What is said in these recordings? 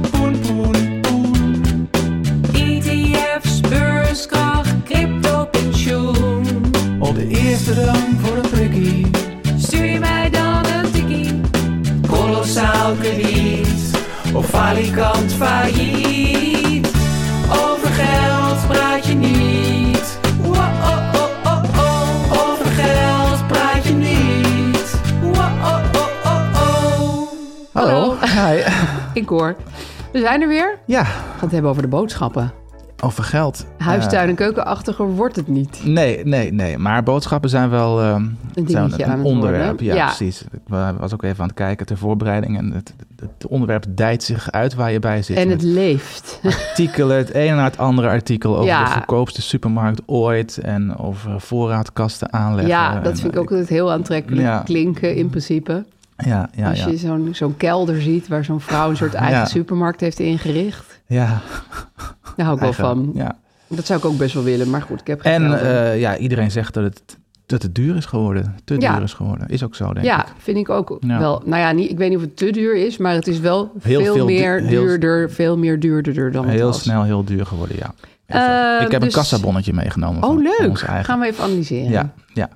poen, poen, poen. ETF's, beurskracht, crypto, pensioen. Op de eerste rang voor een prikkie. Stuur je mij dan een tikkie? Kolossaal krediet. Of falikant failliet. Over geld praat je niet. Wow-oh-oh-oh-oh. Over geld praat je niet. Wow-oh-oh-oh-oh. Hallo. Hi. Ik hoor. We zijn er weer. We Ja, gaan het hebben over de boodschappen. over geld. Huistuin en keukenachtiger wordt het niet. Eh, nee, nee, nee. Maar boodschappen zijn wel ehm, Een zijn dingetje een aan het onderwerp. worden. Ja, Ja. precies. Ik wa- was ook even aan het kijken ter voorbereiding. En het, het onderwerp dijt zich uit waar je bij zit. En Met het leeft. artikelen, het ene na het andere artikel over Ja. de goedkoopste supermarkt ooit. En over voorraadkasten aanleggen. Ja, dat eh, En, vind ik ook altijd heel aantrekkelijk Ja. klinken in principe. Ja, ja, Als ja. je zo'n zo'n kelder ziet waar zo'n vrouw een soort eigen Ja. supermarkt heeft ingericht. ja. Daar hou ik wel van. Ja. Dat zou ik ook best wel willen, maar goed, ik heb geen En kelder. eh, ja, iedereen zegt dat het, dat het duur is geworden. Te Ja. duur is geworden. Is ook zo, denk ja, ik. vind ik ook Ja. wel. Nou ja, niet, ik weet niet of het te duur is, maar het is wel Heel veel, veel du- meer heel- duurder, veel meer duurderder dan het Heel was. snel heel duur geworden, ja. Eh, ik heb dus- een kassabonnetje meegenomen. van- Oh, Van leuk. ons eigen. Gaan we even analyseren. Ja, ja.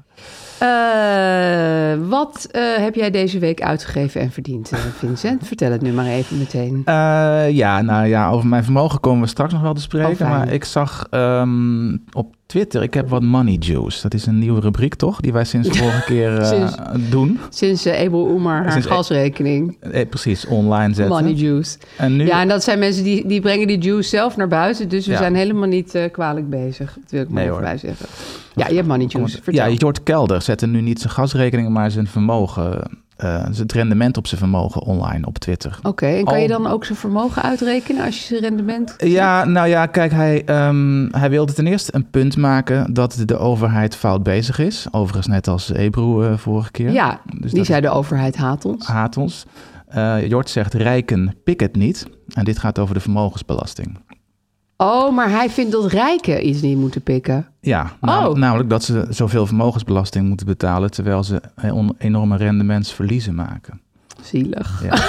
Eh, wat eh, heb jij deze week uitgegeven en verdiend, eh, Vincent? Vertel het nu maar even meteen. Eh, ja, nou ja, over mijn vermogen komen we straks nog wel te Oh, spreken. fijn. maar ik zag ehm, op Twitter, ik heb wat Money Juice. Dat is een nieuwe rubriek, toch? Die wij sinds de vorige keer eh, Sinds- doen. Sinds eh Ebel Oemar haar Sinds E- gasrekening, Eh, precies, online zetten. money juice. En nu, Ja, en dat zijn mensen die, die brengen die juice zelf naar buiten. Dus we Ja. zijn helemaal niet eh, kwalijk bezig. Dat wil ik maar Nee, even hoor. bij zeggen. Ja, je hebt money juice. ja, Vertel. Jort Kelder zette nu niet zijn gasrekening, maar zijn vermogen. eh, zijn rendement op zijn vermogen online op Twitter. Oké, en kan Al- je dan ook zijn vermogen uitrekenen als je zijn rendement... Ja, nou ja, kijk, hij, ehm, hij wilde ten eerste een punt maken dat de overheid fout bezig is. Overigens net als Ebro eh, vorige keer. Ja, Dus die dat Ah. zei de overheid haat is- ons. haat ons. Eh, Jort zegt, rijken pik het niet. En dit gaat over de vermogensbelasting. Oh, maar hij vindt dat rijken iets niet moeten pikken. Ja, nam- Oh. namelijk dat ze zoveel vermogensbelasting moeten betalen... terwijl ze een enorme rendementsverliezen maken. Zielig. Ja.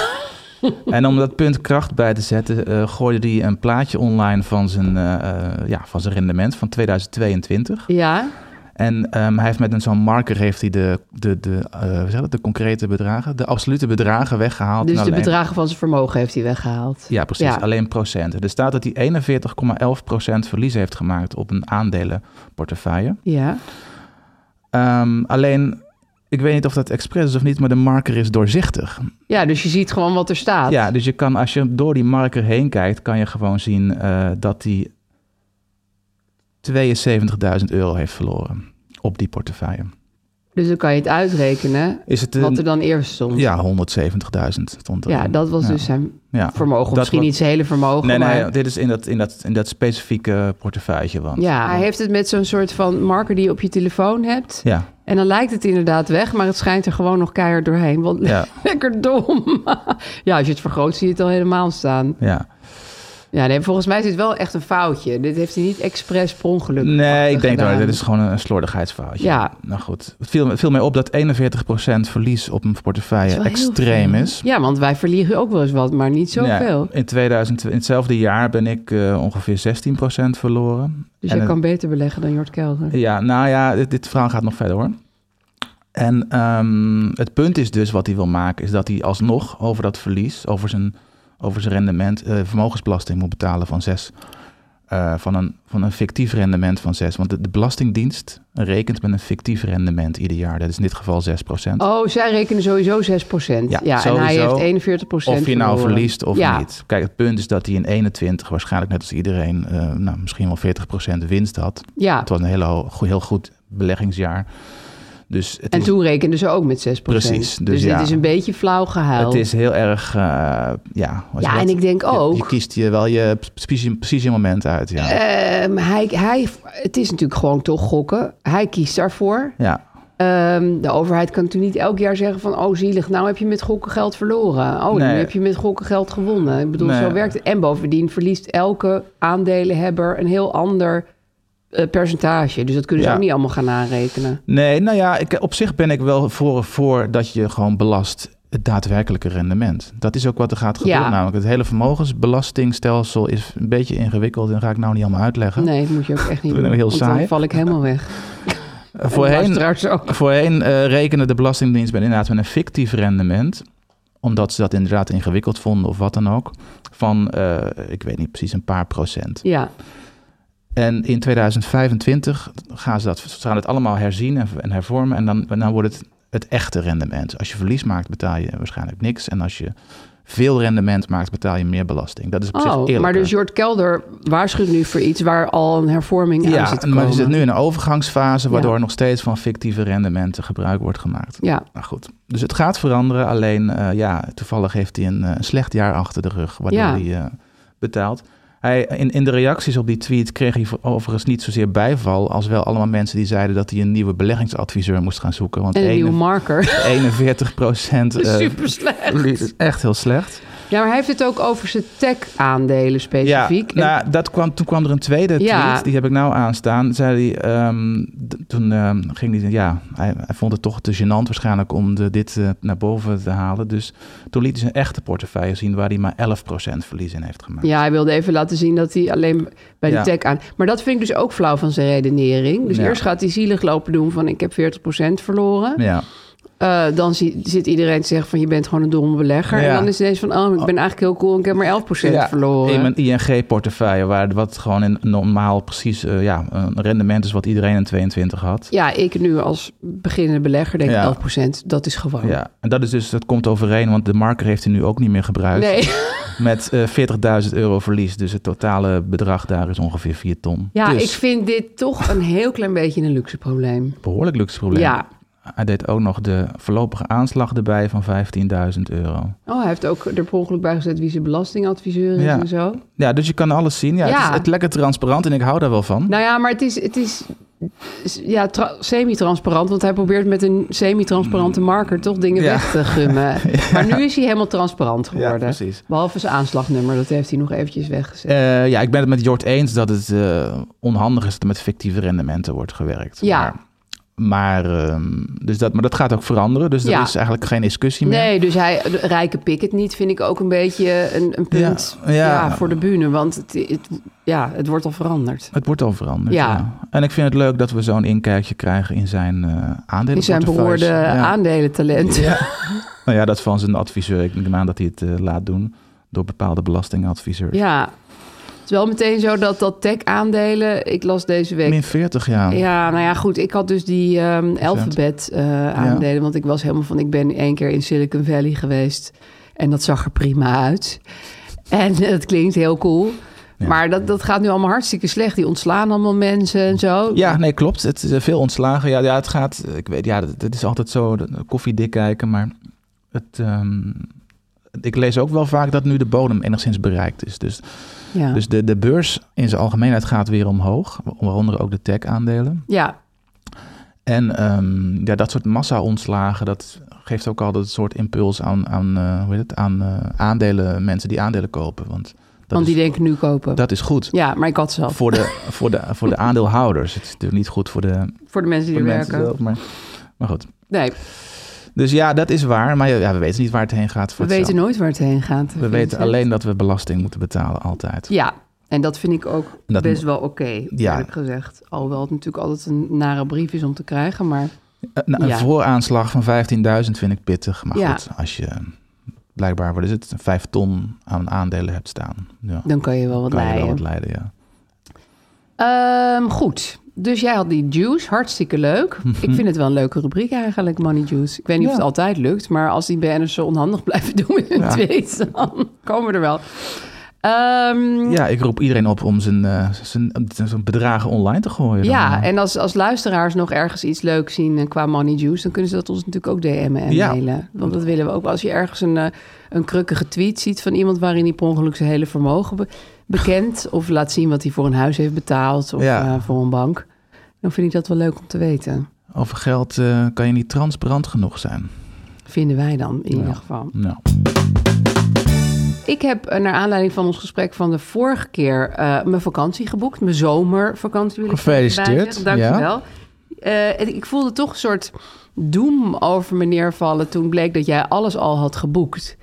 en om dat punt kracht bij te zetten, eh, gooide hij een plaatje online van zijn, eh, eh, ja, van zijn rendement van 2022. Ja, En ehm, hij heeft met een zo'n marker heeft hij de, de, de, eh, hoe zeg je dat, de concrete bedragen, de absolute bedragen weggehaald. dus en de alleen- bedragen van zijn vermogen heeft hij weggehaald. Ja, precies. Ja. Alleen procenten. Er staat dat hij 41,11% verlies heeft gemaakt op een aandelenportefeuille. Ja. Ehm, alleen, ik weet niet of dat expres is of niet, maar de marker is doorzichtig. ja, dus je ziet gewoon wat er staat. Ja, dus je kan, als je door die marker heen kijkt, kan je gewoon zien eh, dat hij 72.000 euro heeft verloren op die portefeuille. Dus dan kan je het uitrekenen Is het wat er Dus een, dan eerst stond. ja, 170.000 stond er. Ja, dat was dus zijn eh, Ja. vermogen. Dat Misschien wat- niet zijn hele vermogen, Nee, maar... nee, dit is in dat, in dat, in dat specifieke portefeuille. Want, Ja, hij heeft het met zo'n soort van marker die je op je telefoon hebt. Ja, En dan lijkt het inderdaad weg, maar het schijnt er gewoon nog keihard doorheen. Want ja, lekker dom. ja, als je het vergroot zie je het al helemaal staan. ja. Ja, nee, volgens mij is dit wel echt een foutje. Dit heeft hij niet expres per ongeluk Nee, ik denk gedaan. dat dit is gewoon een slordigheidsverhaaltje. Ja. Nou goed, het viel, het viel mij op dat 41% verlies op een Dat is portefeuille wel heel extreem veel. is. Ja, want wij verliegen ook wel eens wat, maar niet zoveel. Ja, in, 2000, in hetzelfde jaar ben ik eh, ongeveer 16% verloren. Dus En je het- kan beter beleggen dan Jort Kelder. Ja, nou ja, dit, dit verhaal gaat nog verder hoor. En ehm, het punt is dus wat hij wil maken, is dat hij alsnog over dat verlies, over zijn, over zijn rendement, eh, vermogensbelasting moet betalen van zes. eh, van, een, van een fictief rendement van 6. Want de, de Belastingdienst rekent met een fictief rendement ieder jaar. Dat is in dit geval 6%. Oh, zij rekenen sowieso 6 procent. Ja, Ja, en hij sowieso. heeft 41 procent Of je nou verliest of ja. niet. Kijk, het punt is dat hij in 21 waarschijnlijk net als iedereen eh, nou, misschien wel 40% winst had. Ja, Het was een hele, ho- go- heel goed beleggingsjaar. Dus het en is, toen rekenden ze ook met 6 procent. Precies, dus Dus, dit ja. is een beetje flauw gehuil. het is heel erg, eh, ja. hoe is Ja, dat? en ik denk Je- ook- Je, kiest je wel je precies, precies je moment uit, ja. Ehm, hij, hij, het is natuurlijk gewoon toch gokken. Hij kiest daarvoor. ja. Ehm, de overheid kan natuurlijk niet elk jaar zeggen van... oh zielig, nou heb je met gokken geld verloren. Oh, nu Nee. heb je met gokken geld gewonnen. Ik bedoel, Nee. zo werkt het. En bovendien verliest elke aandelenhebber een heel ander eh, percentage. Dus dat kunnen ze Ja. ook niet allemaal gaan aanrekenen. Nee, nou ja, ik, op zich ben ik wel voor, voor dat je gewoon belast het daadwerkelijke rendement. Dat is ook wat er gaat gebeuren. Ja. Namelijk, het hele vermogensbelastingstelsel is een beetje ingewikkeld en ga ik nou niet allemaal uitleggen. Nee, dat moet je ook echt niet Dat doen. is heel want dan saai. val ik helemaal weg. Eh, Voorheen, Straks ook. Voorheen eh, rekende de Belastingdienst met, inderdaad met een fictief rendement. Omdat ze dat inderdaad ingewikkeld vonden of wat dan ook. Van, eh, ik weet niet precies, een paar procent. Ja, En in 2025 gaan ze dat, ze gaan het allemaal herzien en, en hervormen. En dan, en dan wordt het het echte rendement. Als je verlies maakt, betaal je waarschijnlijk niks. En als je veel rendement maakt, betaal je meer belasting. Dat is op zich oh, eerlijker. maar dus Jort Kelder waarschuwt nu voor iets waar al een hervorming aan ja, zit te komen. maar we zitten nu in een overgangsfase... Ja. waardoor nog steeds van fictieve rendementen gebruik wordt gemaakt. Ja, Nou goed, dus het gaat veranderen. Alleen, eh, ja, toevallig heeft hij een eh, een slecht jaar achter de rug, waardoor Ja. hij eh, betaalt. Hij, in, in de reacties op die tweet kreeg hij voor- overigens niet zozeer bijval... als wel allemaal mensen die zeiden dat hij een nieuwe beleggingsadviseur moest gaan zoeken. Want en een nieuwe ene- Eh. marker. 41 procent... Super slecht. Echt heel slecht. Ja, maar hij heeft het ook over zijn tech-aandelen Ja, specifiek. En- nou, dat kwam, toen kwam er een tweede tweet, Ja. die heb ik nou aanstaan. Zei hij, ehm, d- toen ehm, ging hij, ja, hij, hij vond het toch te gênant waarschijnlijk om de, dit eh, naar boven te halen. Dus toen liet hij zijn echte portefeuille zien waar hij maar 11% verlies in heeft gemaakt. ja, hij wilde even laten zien dat hij alleen bij Ja. de tech aan... Maar dat vind ik dus ook flauw van zijn redenering. Dus Ja. eerst gaat hij zielig lopen doen van ik heb 40% verloren. Ja. Eh, dan zie- zit iedereen te zeggen van je bent gewoon een domme belegger. Ja. En dan is ineens van oh, ik ben eigenlijk heel cool en ik heb maar 11% Ja, verloren. In mijn ING-portefeuille, waar wat gewoon in normaal precies eh, ja, een rendement is wat iedereen in 22 had. Ja, ik nu als beginnende belegger denk Ja. 11%, dat is gewoon. Ja, en dat is dus, dat komt overeen, want de marker heeft hij nu ook niet meer gebruikt. Nee. Met eh, 40.000 euro verlies. Dus het totale bedrag daar is ongeveer 4 ton. Ja, dus, ik vind dit toch een heel klein beetje een luxe probleem. Behoorlijk luxe probleem. Ja. Hij deed ook nog de voorlopige aanslag erbij van 15.000 euro. Oh, hij heeft ook er per ongeluk bij gezet wie zijn belastingadviseur is Ja. en zo. Ja, dus je kan alles zien. Ja, Ja. Het, is, het is lekker transparant en ik hou daar wel van. Nou ja, maar het is, het is is- ja, tra- semi-transparant. Want hij probeert met een semi-transparante marker toch dingen Ja. weg te gummen. Maar nu is hij helemaal transparant geworden. precies. Behalve zijn aanslagnummer, dat heeft hij nog eventjes weggezet. Eh, ja, ik ben het met Jort eens dat het eh, onhandig is dat er met fictieve rendementen wordt gewerkt. Ja. Maar, maar, ehm, dus dat, maar dat gaat ook veranderen. Dus er Ja. is eigenlijk geen discussie meer. Nee, dus hij, de rijke pik het niet, vind ik ook een beetje een, een punt ja, Ja, ja. voor de bühne. Want het, het- ja, het wordt al veranderd. Het wordt al veranderd. Ja. Ja. En ik vind het leuk dat we zo'n inkijkje krijgen in zijn eh aandelen. Die zijn behoorde aandelentalent. Nou ja, dat van zijn adviseur. Ik neem aan dat hij het eh, laat doen door bepaalde belastingadviseurs. Ja. Het is wel meteen zo dat dat tech-aandelen... Ik las deze week... Min 40 jaar. Ja, nou ja, goed. Ik had dus die ehm alfabet aandelen. Want ik was helemaal van... Ik ben één keer in Silicon Valley geweest. En dat zag er prima uit. En het klinkt heel cool. Maar dat, dat gaat nu allemaal hartstikke slecht. Die ontslaan allemaal mensen en zo. Ja, nee, klopt. Het is eh, veel ontslagen. Ja, ja het gaat. eh, Ik weet, ja, dat- het is altijd zo dat- koffiedik kijken. Maar het, ehm, ik lees ook wel vaak dat nu de bodem enigszins bereikt is. Dus, Ja. dus de, de beurs in zijn algemeenheid gaat weer omhoog. Waaronder ook de tech-aandelen. ja. En ehm, ja, dat soort massa-ontslagen, dat geeft ook altijd een soort impuls aan, aan, eh, hoe heet het? aan eh, aandelen, mensen die aandelen kopen. Want dat, want is, die denken nu kopen. dat is goed Ja, maar ik had ze al. voor, de, voor, de, voor de aandeelhouders. Het is natuurlijk niet goed voor de, voor Voor de mensen de die er mensen werken. zelf, maar, maar goed. Nee, Dus ja, dat is waar. Maar ja, ja, we weten niet waar het heen gaat. we Voor weten hetzelfde. nooit waar het heen gaat. we weten Vincent. alleen dat we belasting moeten betalen, altijd. Ja, en dat vind ik ook Dat best mo- wel oké, eerlijk gezegd. Alhoewel het natuurlijk altijd een nare brief is om te krijgen, maar... Eh, nou, Een, een Ja. vooraanslag van 15.000 vind ik pittig. Maar Ja. goed, als je blijkbaar, wat is het, vijf ton aan aandelen hebt staan. Ja, Dan kan je wel wat kan je wel leiden. wat leiden, ja. Ehm, goed. Dus jij had die juice, hartstikke leuk. Ik vind het wel een leuke rubriek eigenlijk, Money Juice. Ik weet niet of het Mhm. Ja. altijd lukt, maar als die BN'ers zo onhandig blijven doen in hun Ja. tweet, dan komen we er wel. Ehm, Ja, ik roep iedereen op om zijn, eh, zijn, zijn bedragen online te gooien. dan, ja, eh. en als, als luisteraars nog ergens iets leuks zien eh, qua Money Juice, dan kunnen ze dat ons natuurlijk ook DM'en en Ja. mailen. Want dat willen we ook. Als je ergens een, eh, een krukkige tweet ziet van iemand waarin hij per ongeluk zijn hele vermogen be- bekent, of laat zien wat hij voor een huis heeft betaald of Ja. eh, voor een bank, dan vind ik dat wel leuk om te weten. Over geld eh, kan je niet transparant genoeg zijn. Vinden wij dan in Ja. ieder geval. Nou, Ik heb eh, naar aanleiding van ons gesprek van de vorige keer eh, mijn vakantie geboekt. Mijn zomervakantie wil ik Gefeliciteerd, erbij zeggen. Dank ja. je wel. Eh, en ik voelde toch een soort doem over me neervallen toen bleek dat jij alles al had geboekt.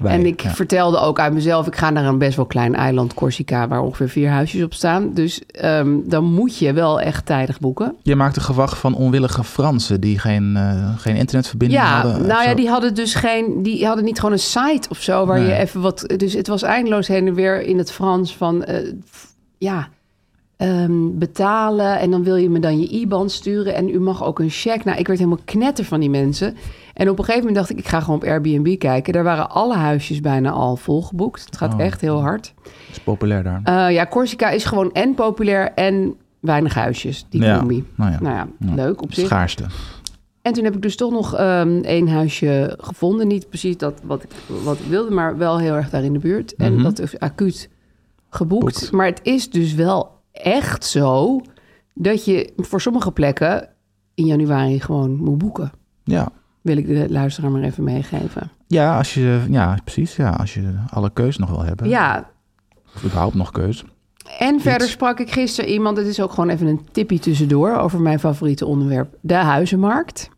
wij, en ik ja. vertelde ook aan mezelf, ik ga naar een best wel klein eiland, Corsica, waar ongeveer vier huisjes op staan. Dus ehm, dan moet je wel echt tijdig boeken. Je maakt een gewacht van onwillige Fransen die geen, eh, geen internetverbinding Ja, hadden. of nou ja, zo. die hadden dus geen, die hadden niet gewoon een site of zo waar Nee. je even wat. Dus het was eindeloos heen en weer in het Frans van, eh, f- ja, ehm, betalen en dan wil je me dan je IBAN sturen en u mag ook een cheque. Nou, ik werd helemaal knetter van die mensen. En op een gegeven moment dacht ik, ik ga gewoon op Airbnb kijken. Daar waren alle huisjes bijna al volgeboekt. Het gaat Oh. echt heel hard. is populair daar. Eh, ja, Corsica is gewoon en populair en weinig huisjes. Die Ja, combi. nou ja. Nou ja, leuk op zich. Schaarste. En toen heb ik dus toch nog ehm één huisje gevonden. Niet precies dat wat ik, wat ik wilde, maar wel heel erg daar in de buurt. En dat is acuut geboekt. Boekt. Maar het is dus wel echt zo dat je voor sommige plekken in januari gewoon moet boeken. Ja. Wil ik de luisteraar maar even meegeven. Ja, als je, ja, precies. Ja, als je alle keus nog wil hebben. Ja, Of überhaupt nog keus. en verder sprak ik gisteren iemand. Het is ook gewoon even een tippie tussendoor over mijn favoriete onderwerp: de huizenmarkt.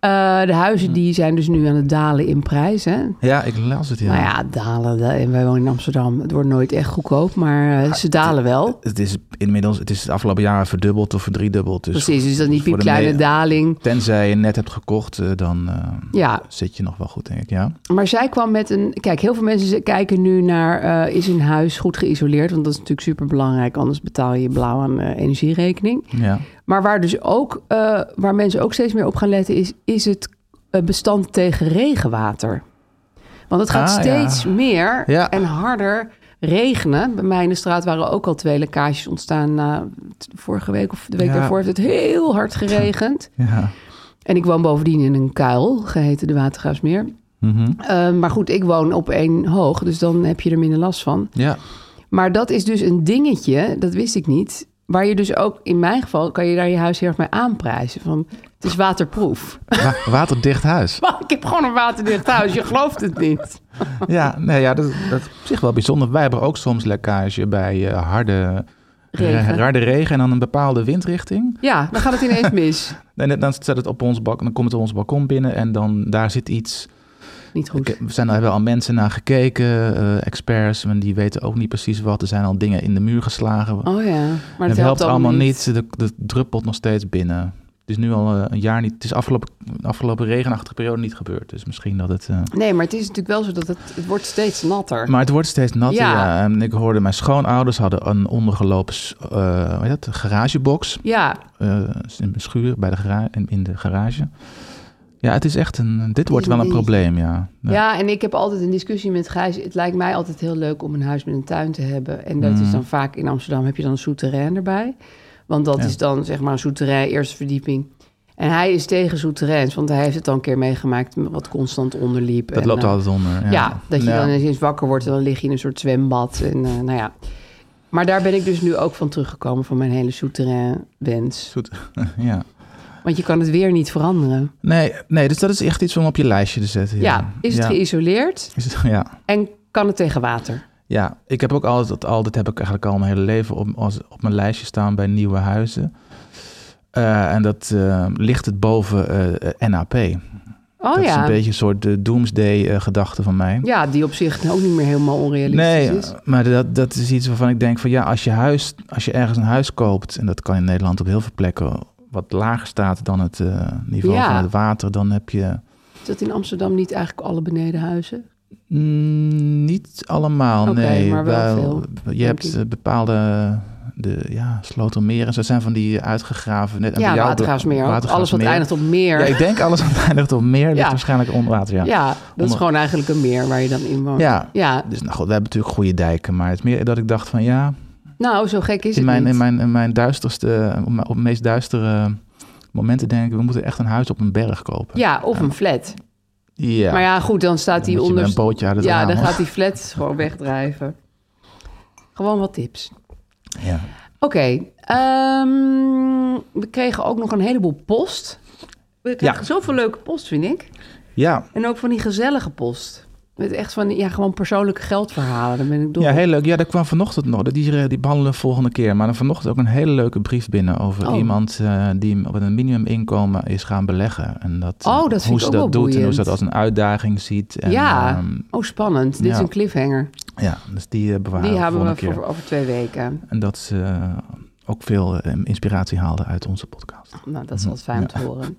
Eh, de huizen die zijn dus nu aan het dalen in prijs. Hè? Ja, ik las het. Ja. Nou ja, dalen. da- En wij wonen in Amsterdam. Het wordt nooit echt goedkoop, maar eh, ze dalen wel. Het is inmiddels, het is de afgelopen jaren verdubbeld of verdriedubbeld. Dus Precies, dus dat is niet voor de piepkleine me- daling. Tenzij je net hebt gekocht, eh, dan eh, Ja, zit je nog wel goed, denk ik. Ja. maar zij kwam met een... Kijk, heel veel mensen ze- kijken nu naar... eh, is een huis goed geïsoleerd? Want dat is natuurlijk super belangrijk. Anders betaal je blauw aan eh, energierekening. ja. Maar waar, dus ook, eh, waar mensen ook steeds meer op gaan letten... is, is het eh, bestand tegen regenwater. Want het gaat Ah, ja. steeds meer Ja. en harder regenen. Bij mij in de straat waren ook al twee lekkages ontstaan. na t- vorige week of de week Ja. daarvoor heeft het heel hard geregend. ja. En ik woon bovendien in een kuil, geheten de Watergraafsmeer. Mhm. Eh, maar goed, ik woon op één hoog, dus dan heb je er minder last van. ja. Maar dat is dus een dingetje, dat wist ik niet. Waar je dus ook, in mijn geval, kan je daar je huis heel erg mee aanprijzen. Van, het is waterproof. Wa- waterdicht huis. Maar ik heb gewoon een waterdicht huis, je gelooft het niet. Ja, nee, ja dat, dat is op zich wel bijzonder. Wij hebben ook soms lekkage bij eh, harde, Regen. re- harde regen en dan een bepaalde windrichting. Ja, dan gaat het ineens mis. En dan staat het op ons bak, dan komt het op ons balkon binnen en dan daar zit iets. Niet goed. Ik- we zijn, daar hebben al mensen naar gekeken, eh, experts, en die weten ook niet precies wat. Er zijn al dingen in de muur geslagen. Oh ja, maar en het het helpt allemaal niet. niet. De, de druppelt nog steeds binnen. Het is nu al eh, een jaar niet. Het is afgelopen, afgelopen regenachtige periode niet gebeurd. Dus misschien dat het. eh, Nee, maar het is natuurlijk wel zo dat het, het wordt steeds natter. Maar het wordt steeds natter. Ja. Ja. En ik hoorde mijn schoonouders hadden een ondergelopen s- eh, hoe heet dat? garagebox. ja, eh, in de schuur bij de gara- in, in de garage. Ja, het is echt een. Dit wordt wel een probleem, ja. ja. en ik heb altijd een discussie met Gijs. Het lijkt mij altijd heel leuk om een huis met een tuin te hebben. En dat Mm. is dan vaak in Amsterdam heb je dan een souterrain erbij. Want dat is dan zeg maar een souterrain, eerste verdieping. En hij is tegen souterrains, want hij heeft het dan een keer meegemaakt wat constant onderliep. Dat En, loopt eh, altijd onder. Ja, Ja, dat je Ja. dan eens wakker wordt en dan lig je in een soort zwembad. En, eh, nou ja. Maar daar ben ik dus nu ook van teruggekomen, van mijn hele souterrain wens. Zoet. ja. Want je kan het weer niet veranderen. Nee, nee, dus dat is echt iets om op je lijstje te zetten. Ja, is het geïsoleerd Is het- ja. en kan het tegen water? Ja, ik heb ook altijd, dat al, dit heb ik eigenlijk al mijn hele leven op, als, op mijn lijstje staan bij nieuwe huizen. Eh, en dat eh, ligt het boven eh, eh, NAP. Oh dat is ja. een beetje een soort eh, de doomsday-gedachte van mij. Ja, die op zich ook niet meer helemaal onrealistisch nee, eh, is. maar dat, dat is iets waarvan ik denk van ja, als je, huis, als je ergens een huis koopt, en dat kan in Nederland op heel veel plekken, wat lager staat dan het eh, niveau Ja. van het water, dan heb je Is dat in Amsterdam niet eigenlijk alle benedenhuizen? mm, niet allemaal. Oké, nee, maar wel veel, je hebt ik. eh, bepaalde de, ja, slotermeren. Ze zijn van die uitgegraven. Net, en bij ja, jou- watergraafsmeer. ook. Alles wat Watergraafsmeer. eindigt op meer. Ja, Ja, ik denk alles wat eindigt op meer ligt Ja. waarschijnlijk onder water. Ja. dat is Onder- gewoon eigenlijk een meer waar je dan in woont. Ja. ja. Dus nou goed, we hebben natuurlijk goede dijken, maar het is meer dat ik dacht van ja, Nou, zo gek in is het mijn, niet. in mijn, in mijn duisterste, op mijn op meest duistere momenten denk ik, we moeten echt een huis op een berg kopen. Ja, of een flat. ja. Maar ja, goed, dan staat Dan die moet je met onder... een bootje uit het ja, raam, dan hoor. gaat die flat gewoon wegdrijven. Gewoon wat tips. Ja. Oké, ehm, we kregen ook nog een heleboel post. We kregen zoveel leuke post, vind ik. Ja. En ook van die gezellige post. Met echt van, ja, gewoon persoonlijke geldverhalen. Daar ben ik door. ja, heel leuk. Ja, daar kwam vanochtend nog. Die, die behandelen we volgende keer. Maar dan vanochtend ook een hele leuke brief binnen over Oh. iemand eh, die op een minimuminkomen is gaan beleggen. En dat, eh, Oh, dat vind hoe ik ze ook dat wel doet en hoe boeiend. ze dat als een uitdaging ziet. En, Ja. ehm, Oh, spannend. Dit is Ja. een cliffhanger. ja, dus die eh, bewaren Die we hebben volgende we keer. voor over twee weken. En dat ze eh, ook veel eh, inspiratie haalden uit onze podcast. Nou, dat is altijd fijn om te horen.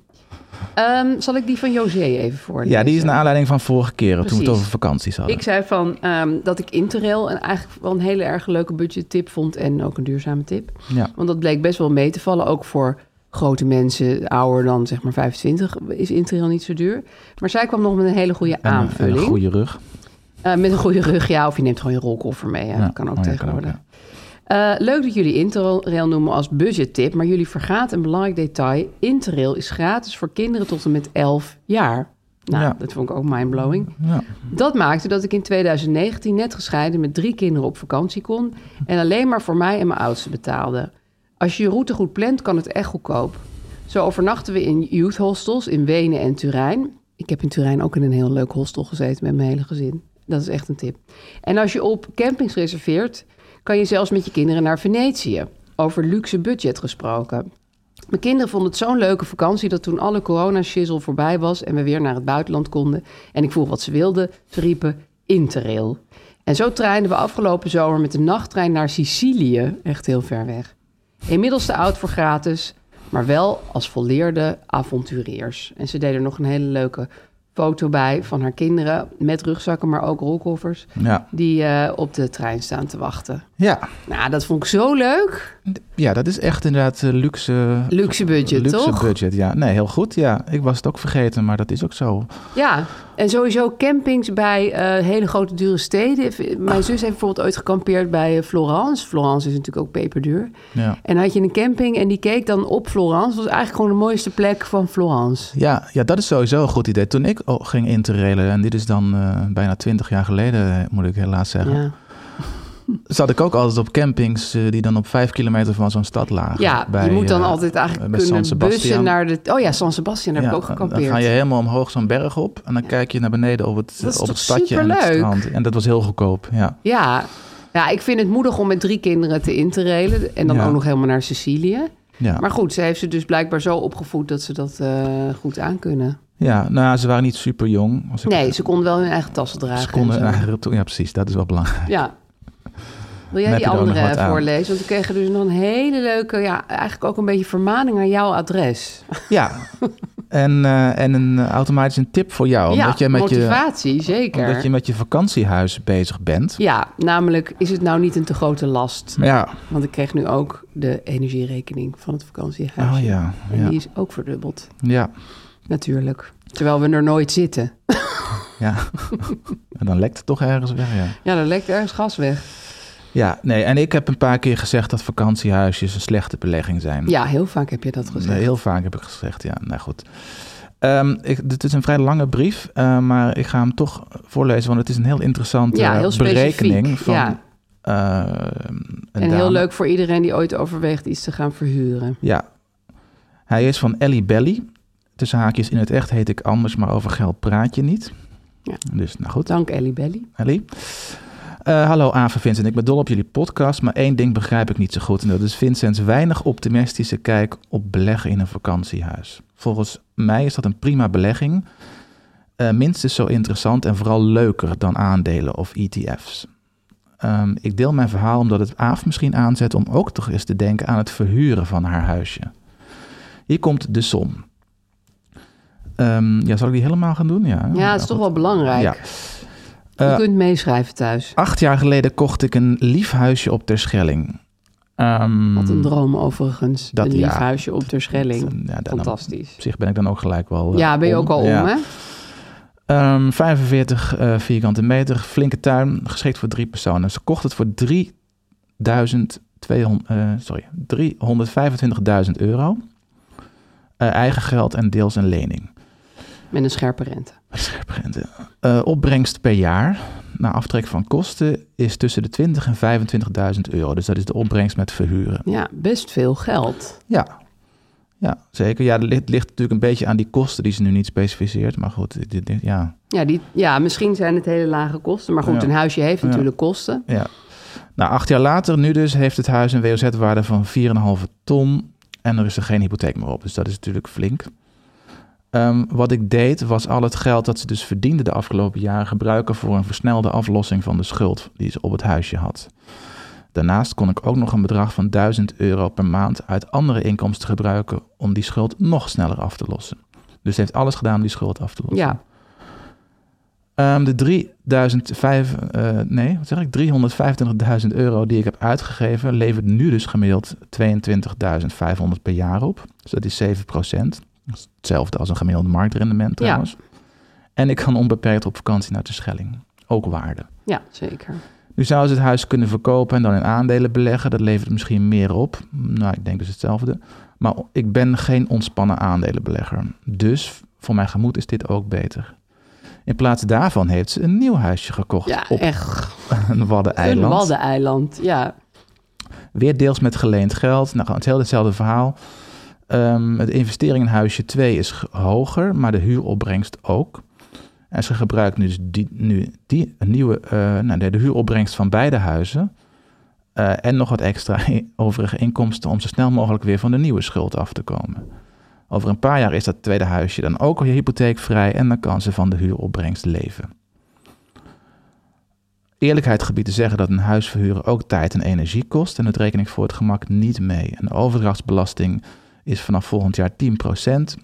Ehm, zal ik die van José even voorlezen? Ja, die is naar aanleiding van vorige keren toen we het Precies. over vakanties hadden. Ik zei van ehm, dat ik Interrail een, eigenlijk wel een hele erg leuke budgettip vond en ook een duurzame tip. Ja. Want dat bleek best wel mee te vallen, ook voor grote mensen, ouder dan zeg maar 25, is Interrail niet zo duur. Maar zij kwam nog met een hele goede En, een- en aanvulling. een goede rug. Eh, met een goede rug, ja, of je neemt gewoon je rolkoffer mee. Hè. Ja, Dat kan ook oh ja, kan tegenwoordig. ook, Eh, leuk dat jullie Interrail noemen als budgettip, maar jullie vergaat een belangrijk detail. Interrail is gratis voor kinderen tot en met 11 jaar. Nou, Ja. dat vond ik ook mindblowing. Ja. Dat maakte dat ik in 2019 net gescheiden met drie kinderen op vakantie kon en alleen maar voor mij en mijn oudste betaalde. Als je je route goed plant, kan het echt goedkoop. Zo overnachten we in youth hostels in Wenen en Turijn. Ik heb in Turijn ook in een heel leuk hostel gezeten met mijn hele gezin. Dat is echt een tip. En als je op campings reserveert, kan je zelfs met je kinderen naar Venetië. Over luxe budget gesproken. Mijn kinderen vonden het zo'n leuke vakantie dat toen alle corona-shizzle voorbij was en we weer naar het buitenland konden en ik vroeg wat ze wilden, ze riepen interrail. En zo treinden we afgelopen zomer met de nachttrein naar Sicilië, echt heel ver weg. Inmiddels te oud voor gratis, maar wel als volleerde avonturiers. En ze deden er nog een hele leuke foto bij van haar kinderen met rugzakken, maar ook rolkoffers, Ja. die eh, op de trein staan te wachten. Ja. Nou, dat vond ik zo leuk. ja, dat is echt inderdaad eh, luxe... Luxe budget, luxe toch? budget, ja. Nee, heel goed, ja. Ik was het ook vergeten, maar dat is ook zo. Ja, en sowieso campings bij eh, hele grote dure steden. Mijn zus heeft bijvoorbeeld ooit gekampeerd bij eh, Florence. Florence is natuurlijk ook peperduur. Ja, En dan had je een camping en die keek dan op Florence. Dat was eigenlijk gewoon de mooiste plek van Florence. ja, ja dat is sowieso een goed idee. Toen ik o- ging interrailen, en dit is dan eh, bijna twintig jaar geleden, eh, moet ik helaas zeggen... Ja. zat ik ook altijd op campings eh, die dan op vijf kilometer van zo'n stad lagen. Ja, Bij, je moet dan eh, altijd bij eigenlijk San kunnen Sebastian. bussen naar de... Oh ja, San Sebastian, daar heb Ja, ik Dan ook gekampeerd. ga je helemaal omhoog zo'n berg op en dan kijk je naar beneden op het, Dat is op toch het stadje en het superleuk? strand. En dat was heel goedkoop, ja. Ja. ja, ik vind het moedig om met drie kinderen te interrailen. En dan Ja. ook nog helemaal naar Sicilië. Ja, Maar goed, ze heeft ze dus blijkbaar zo opgevoed dat ze dat eh, goed aankunnen. ja nou, ze waren niet super jong. Als ik Nee, ze konden wel hun eigen tassen dragen. Ze en konden zo. eigenlijk toe- ja, precies, dat is wel belangrijk. Ja. Dan Wil jij heb die je er ook nog andere wat aan. voorlezen? Want we kregen dus nog een hele leuke, ja, eigenlijk ook een beetje vermaning aan jouw adres. Oh, Ja, en, eh, en een, eh, automatisch een tip voor jou. ja, omdat, je met je, motivatie, zeker. omdat je met je vakantiehuis bezig bent. Ja, namelijk is het nou niet een te grote last? Ja, Want ik kreeg nu ook de energierekening van het vakantiehuis. oh ja. En Ja, die is ook verdubbeld, ja. natuurlijk. Terwijl we er nooit zitten. ja. en dan lekt het toch ergens weg, ja. Ja, dan lekt ergens gas weg. Ja, nee, en ik heb een paar keer gezegd dat vakantiehuisjes een slechte belegging zijn. Ja, heel vaak heb je dat gezegd. Nee, heel vaak heb ik gezegd, ja, nou goed. Ehm, ik, dit is een vrij lange brief, eh, maar ik ga hem toch voorlezen, want het is een heel interessante ja, heel specifiek. berekening van ja. eh, een En heel dame. leuk voor iedereen die ooit overweegt iets te gaan verhuren. Ja. Hij is van Ellie Belly. Tussen haakjes, in het echt heet ik anders, maar over geld praat je niet. Ja. Dus nou goed. Dank Ellie Belly. Ali. Eh, hallo Aaf en Vincent, ik ben dol op jullie podcast, maar één ding begrijp ik niet zo goed. En dat is Vincent's weinig optimistische kijk op beleggen in een vakantiehuis. Volgens mij is dat een prima belegging. Eh, minstens zo interessant en vooral leuker dan aandelen of ETF's. Ehm, ik deel mijn verhaal omdat het Aaf misschien aanzet om ook toch eens te denken aan het verhuren van haar huisje. Hier komt de som. Ehm, ja, zal ik die helemaal gaan doen? Ja, nou Ja, het is toch wel belangrijk. Ja. Je Eh, kunt meeschrijven thuis. Acht jaar geleden kocht ik een lief huisje op Terschelling. Ehm, Wat een droom overigens. dat een ja. lief huisje op Terschelling. Ja, dan- Fantastisch. Op zich ben ik dan ook gelijk wel. eh, Ja, ben je ook al om, Ja. hè? Ehm, 45 eh, vierkante meter, flinke tuin, geschikt voor drie personen. Ze kocht het voor 3200, eh, sorry, 325.000 euro. Eh, eigen geld en deels een lening. Met een scherpe rente. Scherpe rente. Eh, opbrengst per jaar, na aftrek van kosten, is tussen de 20.000 en 25.000 euro. Dus dat is de opbrengst met verhuren. Ja, best veel geld. Ja. Ja, zeker. Ja, het ligt, ligt natuurlijk een beetje aan die kosten die ze nu niet specificeert. Maar goed, dit, dit, ja, Ja, die, ja, misschien zijn het hele lage kosten. Maar goed, Ja. een huisje heeft Ja. natuurlijk kosten. Ja. Nou, acht jaar later, nu dus, heeft het huis een WOZ-waarde van 4,5 ton. En er is er geen hypotheek meer op. Dus dat is natuurlijk flink. Ehm, wat ik deed, was al het geld dat ze dus verdiende de afgelopen jaren gebruiken voor een versnelde aflossing van de schuld die ze op het huisje had. Daarnaast kon ik ook nog een bedrag van 1000 euro per maand uit andere inkomsten gebruiken om die schuld nog sneller af te lossen. Dus ze heeft alles gedaan om die schuld af te lossen. Ja, Ehm, de 3005, eh, nee, wat zeg ik? 325.000 euro die ik heb uitgegeven, levert nu dus gemiddeld 22.500 per jaar op. Dus dat is 7%. Dat is hetzelfde als een gemiddeld marktrendement trouwens. En ik kan onbeperkt op vakantie naar de Schelling. Ook waarde. ja zeker. Nu zou ze het huis kunnen verkopen en dan in aandelen beleggen. Dat levert misschien meer op. Nou, ik denk dus hetzelfde. Maar ik ben geen ontspannen aandelenbelegger. Dus voor mijn gemoed is dit ook beter. In plaats daarvan heeft ze een nieuw huisje gekocht Ja, op echt. een Een waddeneiland. waddeneiland. Ja, Weer deels met geleend geld. Nou, het hele hetzelfde verhaal. Ehm, het investering in huisje 2 is g- hoger, maar de huuropbrengst ook. En ze gebruikt nu, dus die, nu die nieuwe, eh, nou, de, de huuropbrengst van beide huizen. eh, en nog wat extra i- overige inkomsten om zo snel mogelijk weer van de nieuwe schuld af te komen. Over een paar jaar is dat tweede huisje dan ook weer hypotheekvrij en dan kan ze van de huuropbrengst leven. Eerlijkheid gebied te zeggen dat een huis verhuren ook tijd en energie kost en dat reken ik voor het gemak niet mee. Een overdrachtsbelasting is vanaf volgend jaar 10%.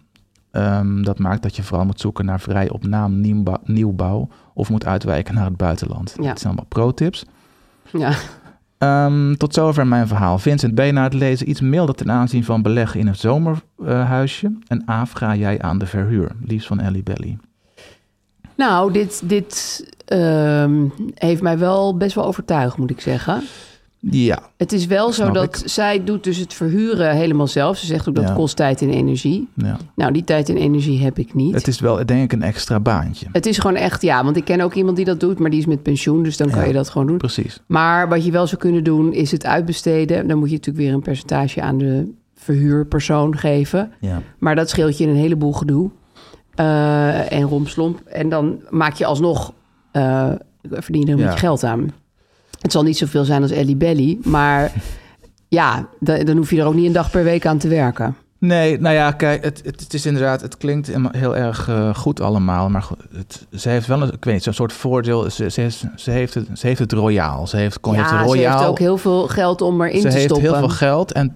Ehm, dat maakt dat je vooral moet zoeken naar vrij op naam nieuwbou- nieuwbouw of moet uitwijken naar het buitenland. Ja. Dat zijn allemaal pro-tips. ja. Ehm, tot zover mijn verhaal. Vincent B. na het lezen iets milder ten aanzien van beleggen in een zomerhuisje. en Aaf ga jij aan de verhuur. Liefst van Ellie Belly. Nou, dit, dit ehm, heeft mij wel best wel overtuigd, moet ik zeggen. Ja, Het is wel zo Snap dat zij doet dus het verhuren helemaal zelf. Ze zegt ook dat Ja. kost tijd en energie. ja. Nou, die tijd en energie heb ik niet. Het is wel denk ik een extra baantje. Het is gewoon echt, ja, want ik ken ook iemand die dat doet, maar die is met pensioen, dus dan kan Ja. je dat gewoon doen. Precies. Maar Maar wat je wel zou kunnen doen, is het uitbesteden. Dan moet je natuurlijk weer een percentage aan de verhuurpersoon geven. Ja. Maar dat scheelt je een heleboel gedoe eh, en romslomp. En dan maak je alsnog, eh verdien je er een Ja. beetje geld aan. Het zal niet zoveel zijn als Ellie Belly, maar ja, da- dan hoef je er ook niet een dag per week aan te werken. Nee, nou ja, kijk, het, het, het is inderdaad, het klinkt hem- heel erg eh, goed allemaal. Maar goed, het, ze heeft wel een, ik weet niet, zo'n soort voordeel. Ze, ze, is- ze, heeft, het, ze heeft het royaal. Ze heeft, kon je het ja, ze royaal. heeft ook heel veel geld om erin ze te heeft stoppen. heel veel geld en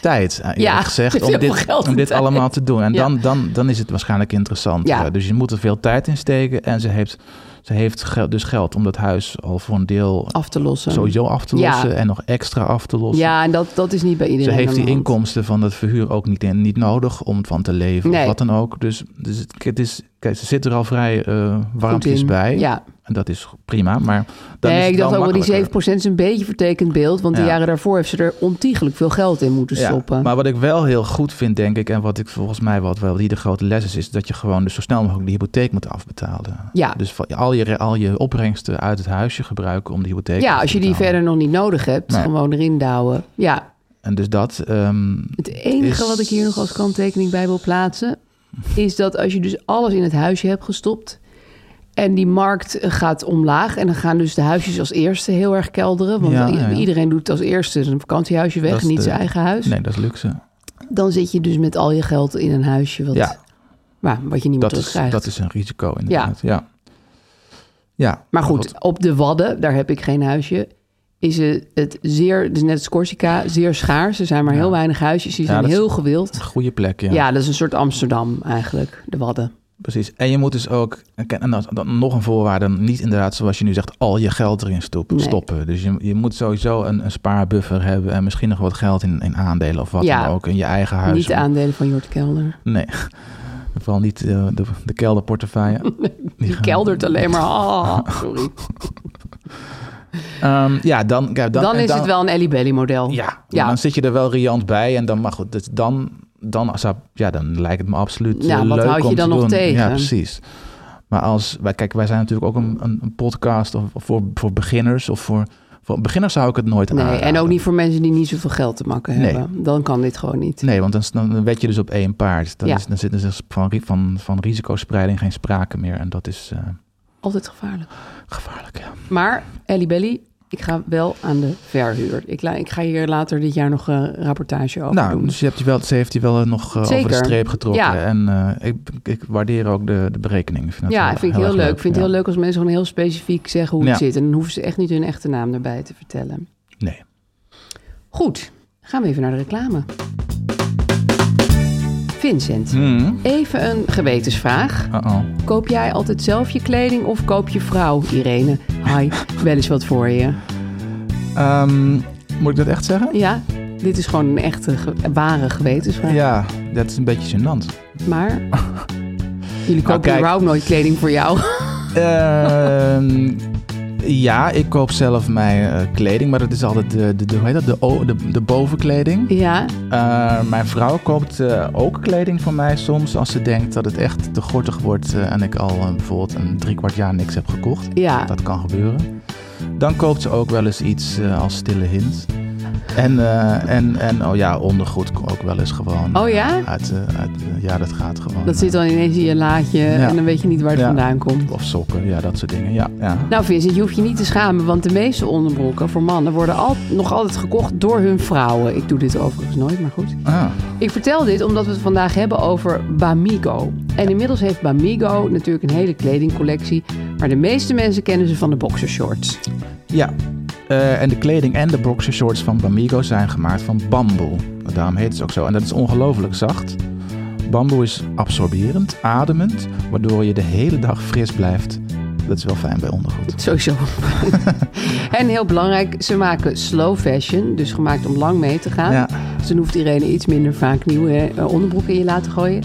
tijd, eerlijk Ja, gezegd, heel om veel dit, geld en om dit tijd. allemaal te doen. En Ja. dan, dan, dan is het waarschijnlijk interessant. Ja. Eh, Dus je moet er veel tijd in steken. En ze heeft, ze heeft geld, dus geld om dat huis al voor een deel af te lossen. sowieso af te Ja. lossen en nog extra af te lossen. Ja, en dat, dat is niet bij Ze iedereen. heeft aan die de hand. inkomsten van het verhuur ook niet, in, niet nodig om van te leven Nee. of wat dan ook. Dus, dus het, het is, kijk, ze zit er al vrij eh warmpjes in. bij. Ja. En dat is prima, maar dan is nee, het ik dacht wel ook wel, die makkelijker. 7% is een beetje vertekend beeld. Want de Ja. jaren daarvoor heeft ze er ontiegelijk veel geld in moeten Ja, stoppen. maar wat ik wel heel goed vind, denk ik, en wat ik volgens mij wat wel die de grote les is, is dat je gewoon dus zo snel mogelijk de hypotheek moet afbetalen. Ja. Dus van- al je, al je opbrengsten uit het huisje gebruiken om de hypotheek af ja, te als je die betalen. verder nog niet nodig hebt, Nee. gewoon erin douwen. Ja, En dus dat. ehm, het enige Is- wat ik hier nog als kanttekening bij wil plaatsen... is dat als je dus alles in het huisje hebt gestopt... en die markt eh, gaat omlaag... en dan gaan dus de huisjes als eerste heel erg kelderen. Want Ja, i- ja, ja. iedereen doet als eerste zijn vakantiehuisje weg... Dat is niet de- zijn eigen huis. nee, dat is luxe. Dan zit je dus met al je geld in een huisje... wat, Ja. maar, wat je niet meer Dat is, terugkrijgt. dat is een risico inderdaad. Ja. ja. Maar goed, op de Wadden, daar heb ik geen huisje. is het, het zeer, dus net als Corsica, zeer schaars. Er zijn maar heel weinig huisjes, die Ja, zijn dat is- heel gewild. Een goede plek, ja. Ja. dat is een soort Amsterdam eigenlijk, de Wadden. Precies. En je moet dus ook, en dan, dan nog een voorwaarde, niet inderdaad zoals je nu zegt, al je geld erin stop- Nee. stoppen. Dus je, je moet sowieso een, een spaarbuffer hebben en misschien nog wat geld in, in aandelen of wat Ja. dan ook, in je eigen huis. Niet de aandelen van Jort Kelder. Nee, vooral niet eh, de, de kelderportefeuille. Die gaan- keldert alleen maar. Ah, sorry. Ehm, ja, dan, ja, dan, Dan, en is het wel een Ellie Belly model. Ja, Ja. Oh, dan zit je er wel riant bij en dan, maar goed, dus dan, dan, zou- ja, dan lijkt het me absoluut Ja, eh, wat leuk houd je om dan te nog doen. tegen? Ja, precies. Maar als, wij, kijk, wij zijn natuurlijk ook een, een, een podcast of, of voor, voor beginners of voor, voor beginners zou ik het nooit Nee, aanraden. en ook niet voor mensen die niet zoveel geld te makken Nee. hebben. Dan kan dit gewoon niet. Nee, want dan, is- dan wed je dus op één paard. Dan, Ja. is, dan zit er dus van, ri- van, van risicospreiding geen sprake meer. En dat is eh, Altijd gevaarlijk. gevaarlijk. Ja. Maar Ellie Belly, ik ga wel aan de verhuur. Ik, la- ik ga hier later dit jaar nog een rapportage over Nou, doen. dus je hebt je wel, ze heeft je wel eh, nog eh, over de Zeker. streep getrokken. Ja. En eh, ik, ik waardeer ook de, de berekening. Ik vind dat ja, heel- vind ik heel, erg leuk. Ik vind ja. het heel leuk als mensen gewoon heel specifiek zeggen hoe het Ja. zit. En dan hoeven ze echt niet hun echte naam erbij te vertellen. Nee. Goed, gaan we even naar de reclame. Vincent, Hmm. even een gewetensvraag. Uh-oh. Koop jij altijd zelf je kleding of koop je vrouw, Irene? Hi, wel eens wat voor je. Ehm, moet ik dat echt zeggen? Ja, dit is gewoon een echte, ge- ware gewetensvraag. Ja, dat is een beetje gênant. Maar jullie kopen Nou, kijk. überhaupt nooit kleding voor jou. Ehm, ja, ik koop zelf mijn eh, kleding, maar dat is altijd de, de, de, hoe heet dat? De, o- de, de bovenkleding. ja, Eh, mijn vrouw koopt eh, ook kleding van mij soms als ze denkt dat het echt te gortig wordt eh, en ik al eh, bijvoorbeeld een drie kwart jaar niks heb gekocht. ja. Dat kan gebeuren. Dan koopt ze ook wel eens iets eh, als stille hint. En, eh, en, en oh ja, ondergoed ook wel eens gewoon. Oh ja? eh, Uit, eh, uit, eh, ja, dat gaat gewoon. Dat eh, zit dan ineens in je laadje en dan weet je niet waar het Ja. vandaan komt. eh, Of sokken, ja, dat soort dingen. Ja, ja. Nou Vincent, je hoeft je niet te schamen, want de meeste onderbroeken voor mannen worden al, nog altijd gekocht door hun vrouwen. Ik doe dit overigens nooit, maar goed. Ah, Ik vertel dit omdat we het vandaag hebben over Bamigo. En inmiddels heeft Bamigo natuurlijk een hele kledingcollectie, maar de meeste mensen kennen ze van de boxershorts. ja. Eh, en de kleding en de boxershorts van Bamigo zijn gemaakt van bamboe. Daarom heet het ook zo. En dat is ongelooflijk zacht. Bamboe is absorberend, ademend, waardoor je de hele dag fris blijft. Dat is wel fijn bij ondergoed. Sowieso. en heel belangrijk, ze maken slow fashion, dus gemaakt om lang mee te gaan. Ja. Dus dan hoeft iedereen iets minder vaak nieuwe eh, onderbroeken in je laten gooien.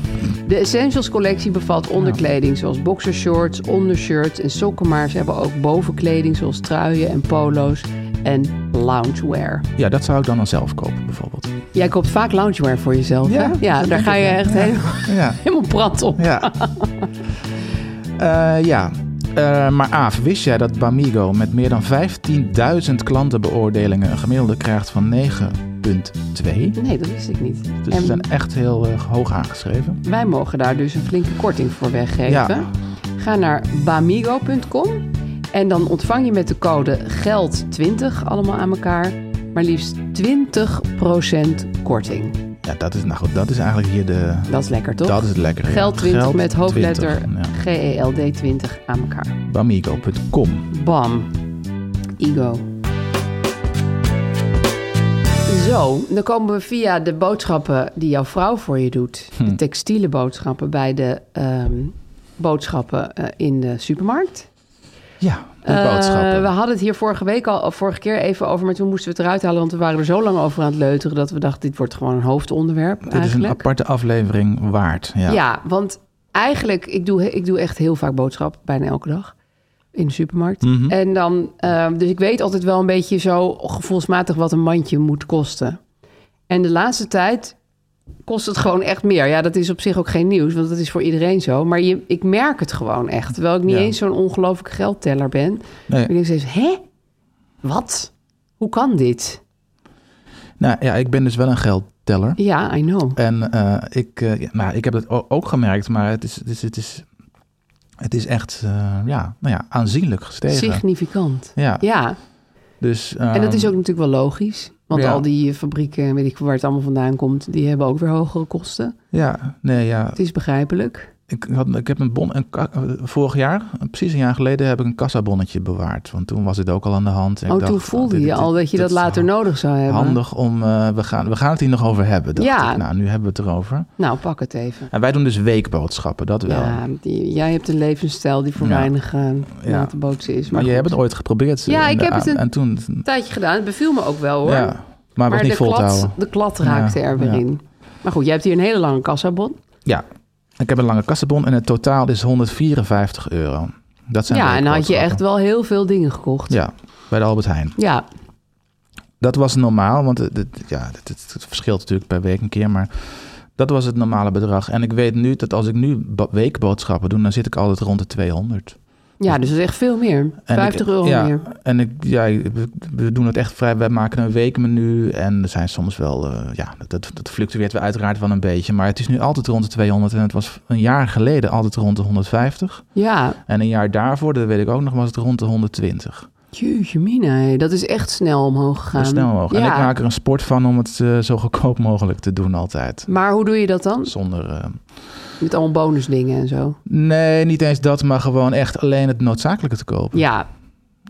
De Essentials collectie bevat onderkleding zoals boxershorts, ondershirts en sokken. Maar ze hebben ook bovenkleding zoals truien en polo's en loungewear. Ja, dat zou ik dan, dan zelf kopen bijvoorbeeld. Jij koopt vaak loungewear voor jezelf, Ja, hè? Ja, dat denk daar ga ik, je ja. echt helemaal, Ja. helemaal brand op. Ja. Eh, ja. Eh, maar Aaf, wist jij dat Bamigo met meer dan 15.000 klantenbeoordelingen een gemiddelde krijgt van 9,2? Nee, dat wist ik niet. Dus ze En- zijn echt heel eh, hoog aangeschreven. Wij mogen daar dus een flinke korting voor weggeven. Ja. Ga naar bamigo.com en dan ontvang je met de code GELD20 allemaal aan elkaar maar liefst 20% korting. Ja, dat is, nou goed, dat is eigenlijk hier de... Dat is lekker toch? Dat is het lekkere, ja. Geld 20 Geld met hoofdletter E 20, ja. GELD 20 aan elkaar. Bamigo.com. Bam. Ego. Zo, dan komen we via de boodschappen die jouw vrouw voor je doet. Hm. De textiele boodschappen bij de ehm, boodschappen eh, in de supermarkt. Ja, de Eh, boodschappen. we hadden het hier vorige week al, of vorige keer even over, maar toen moesten we het eruit halen, want we waren er zo lang over aan het leuteren dat we dachten, dit wordt gewoon een hoofdonderwerp Dit is een eigenlijk. aparte aflevering waard. Ja. ja. want eigenlijk, ik doe, ik doe echt heel vaak boodschap, bijna elke dag. In de supermarkt. Mhm. En dan, ehm, dus ik weet altijd wel een beetje zo gevoelsmatig wat een mandje moet kosten. En de laatste tijd kost het gewoon echt meer. Ja, dat is op zich ook geen nieuws, want dat is voor iedereen zo. Maar je, ik merk het gewoon echt. Terwijl ik niet Ja. eens zo'n ongelooflijke geldteller ben. Nee. Ik denk steeds, hè? Wat? Hoe kan dit? Nou ja, ik ben dus wel een geldteller. Ja, I know. En eh, ik, eh, ja, nou, ik heb het o- ook gemerkt, maar het is, het is, het is, het is echt eh, ja, nou ja, aanzienlijk gestegen. Significant. Ja. Ja, Dus, En dat is ehm, ook natuurlijk wel logisch. Want ja. al die eh, fabrieken, en weet ik veel waar het allemaal vandaan komt, die hebben ook weer hogere kosten. Ja, nee, ja, Het is begrijpelijk. Ik, had, ik heb een bon, een, ka- eh, vorig jaar, eh, precies een jaar geleden, heb ik een kassabonnetje bewaard. Want toen was het ook al aan de hand. Ik Oh, dacht, ah, nou, toen voelde dit- je dit- al dat je dit dat is later nodig zou hebben. Handig om, eh, we, gaan, we gaan het hier nog over hebben. Dacht Ja. ik. Nou, nu hebben we het erover. Nou, pak het even. En wij doen dus weekboodschappen, dat wel. Ja, die, jij hebt een levensstijl die voor Ja. weinig eh, Ja. na te bootsen is. maar je goed. hebt het ooit geprobeerd. eh, Ja, in ik de heb het a- een- En toen, een tijdje gedaan. Het beviel me ook wel hoor. ja, maar, was de, niet vol te klad, houden. de klad raakte Ja, er weer ja. in. Maar goed, jij hebt hier een hele lange kassabon. Ja, ik heb een lange kassabon en het totaal is 154 euro. Dat zijn Ja, en dan had je echt weekboodschappen. wel heel veel dingen gekocht. Ja, bij de Albert Heijn. Ja, Dat was normaal, want het, het- ja, het, het- het verschilt natuurlijk per week een keer, maar dat was het normale bedrag. En ik weet nu dat als ik nu ba- weekboodschappen doe, dan zit ik altijd rond de 200. ja dus dat is echt veel meer. En 50 ik- euro ja, meer. En ik, ja, we- we doen het echt vrij. Wij maken een weekmenu. En er zijn soms wel. eh, ja, dat- dat, dat fluctueert we uiteraard wel een beetje. Maar het is nu altijd rond de 200. En het was een jaar geleden altijd rond de 150. Ja, En een jaar daarvoor, dat weet ik ook nog, was het rond de 120. jeetje mina, hé. dat is echt snel omhoog Zo gegaan. snel mogelijk. En Ehm, Ja. ik maak er een sport van om het eh, zo goedkoop mogelijk te doen, altijd. Maar hoe doe je dat dan? Zonder. eh, Met allemaal bonusdingen en zo. nee, niet eens dat, maar gewoon echt alleen het noodzakelijke te kopen. Ja.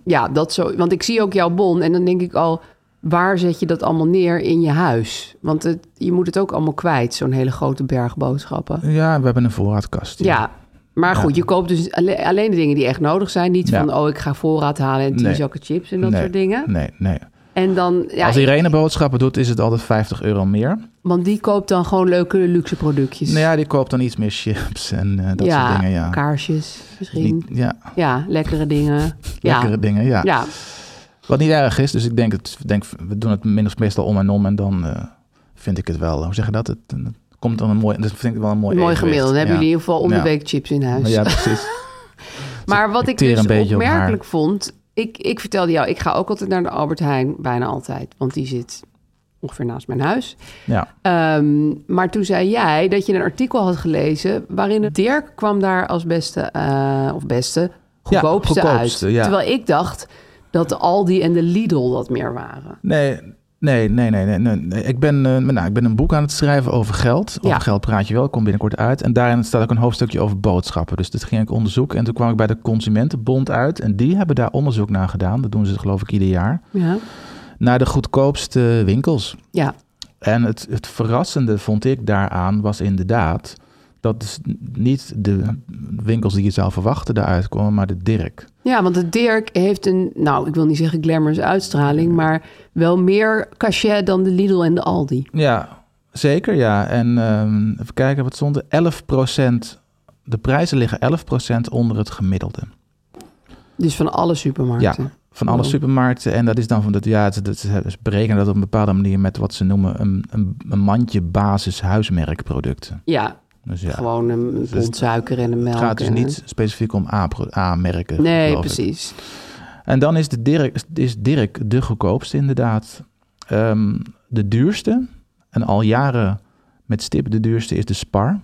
ja, dat zo. Want ik zie ook jouw bon en dan denk ik al... waar zet je dat allemaal neer in je huis? Want het, je moet het ook allemaal kwijt, zo'n hele grote berg boodschappen. Ja, we hebben een voorraadkast. Ja, maar goed, je koopt dus alle- alleen de dingen die echt nodig zijn. Niet Ja. van, oh, ik ga voorraad halen en tien Nee. zakken chips en dat Nee, soort dingen. Nee, nee. En dan, ja, Als Irene boodschappen doet, is het altijd 50 euro meer. want die koopt dan gewoon leuke luxe productjes. Nou ja, die koopt dan iets meer chips en eh, dat Ja, soort dingen. Ja, kaarsjes misschien. Niet- ja, Ja, lekkere dingen. lekkere ja. dingen, ja. Ja, Wat niet erg is, dus ik denk, het, denk we doen het min of meestal om en om en dan eh, vind ik het wel, hoe zeg je dat? Het, het komt dan een mooi, dat vind ik wel een mooi mooi evenwicht. gemiddeld. Dan hebben Ja. jullie in ieder geval om Ja. de week dus. chips in huis. Ja, precies. Maar wat Ik ik teer dus een beetje op haar. opmerkelijk vond... Ik, ik vertelde jou, ik ga ook altijd naar de Albert Heijn. Bijna altijd, want die zit ongeveer naast mijn huis. ja. Ehm, maar toen zei jij dat je een artikel had gelezen... waarin Dirk kwam daar als beste, eh, of beste, goedkoopste, goedkoopste, uit. ja. Terwijl ik dacht dat de Aldi en de Lidl dat meer waren. Nee, nee, nee, nee, nee, nee, nee. Ik ben, eh, nou, ik ben een boek aan het schrijven over geld. Over Ja. geld praat je wel, komt binnenkort uit. En daarin staat ook een hoofdstukje over boodschappen. Dus dat ging ik onderzoeken. En toen kwam ik bij de Consumentenbond uit. En die hebben daar onderzoek naar gedaan. Dat doen ze geloof ik ieder jaar. Ja, naar de goedkoopste winkels. ja. En het, het verrassende vond ik daaraan was inderdaad dat dus niet de winkels die je zou verwachten daaruit komen, maar de Dirk. ja want de Dirk heeft een, nou, ik wil niet zeggen glamorous uitstraling... maar wel meer cachet dan de Lidl en de Aldi. Ja, zeker ja. En ehm, even kijken wat stond er. 11%, de prijzen liggen 11% onder het gemiddelde. Dus van alle Ja, supermarkten. van alle Wow. supermarkten. En dat is dan van dat, ja, ze- dat, ze berekenen dat op een bepaalde manier met wat ze noemen een, een, een mandje basis huismerkproducten. Ja, Dus ja. gewoon een een pond suiker en een melk. Het gaat dus en- niet specifiek om A- pro- A-merken. Nee, geloof ik. precies. En dan is, de Dirk, is Dirk de goedkoopste inderdaad. Ehm, de duurste, en al jaren met stip de duurste, is de Spar.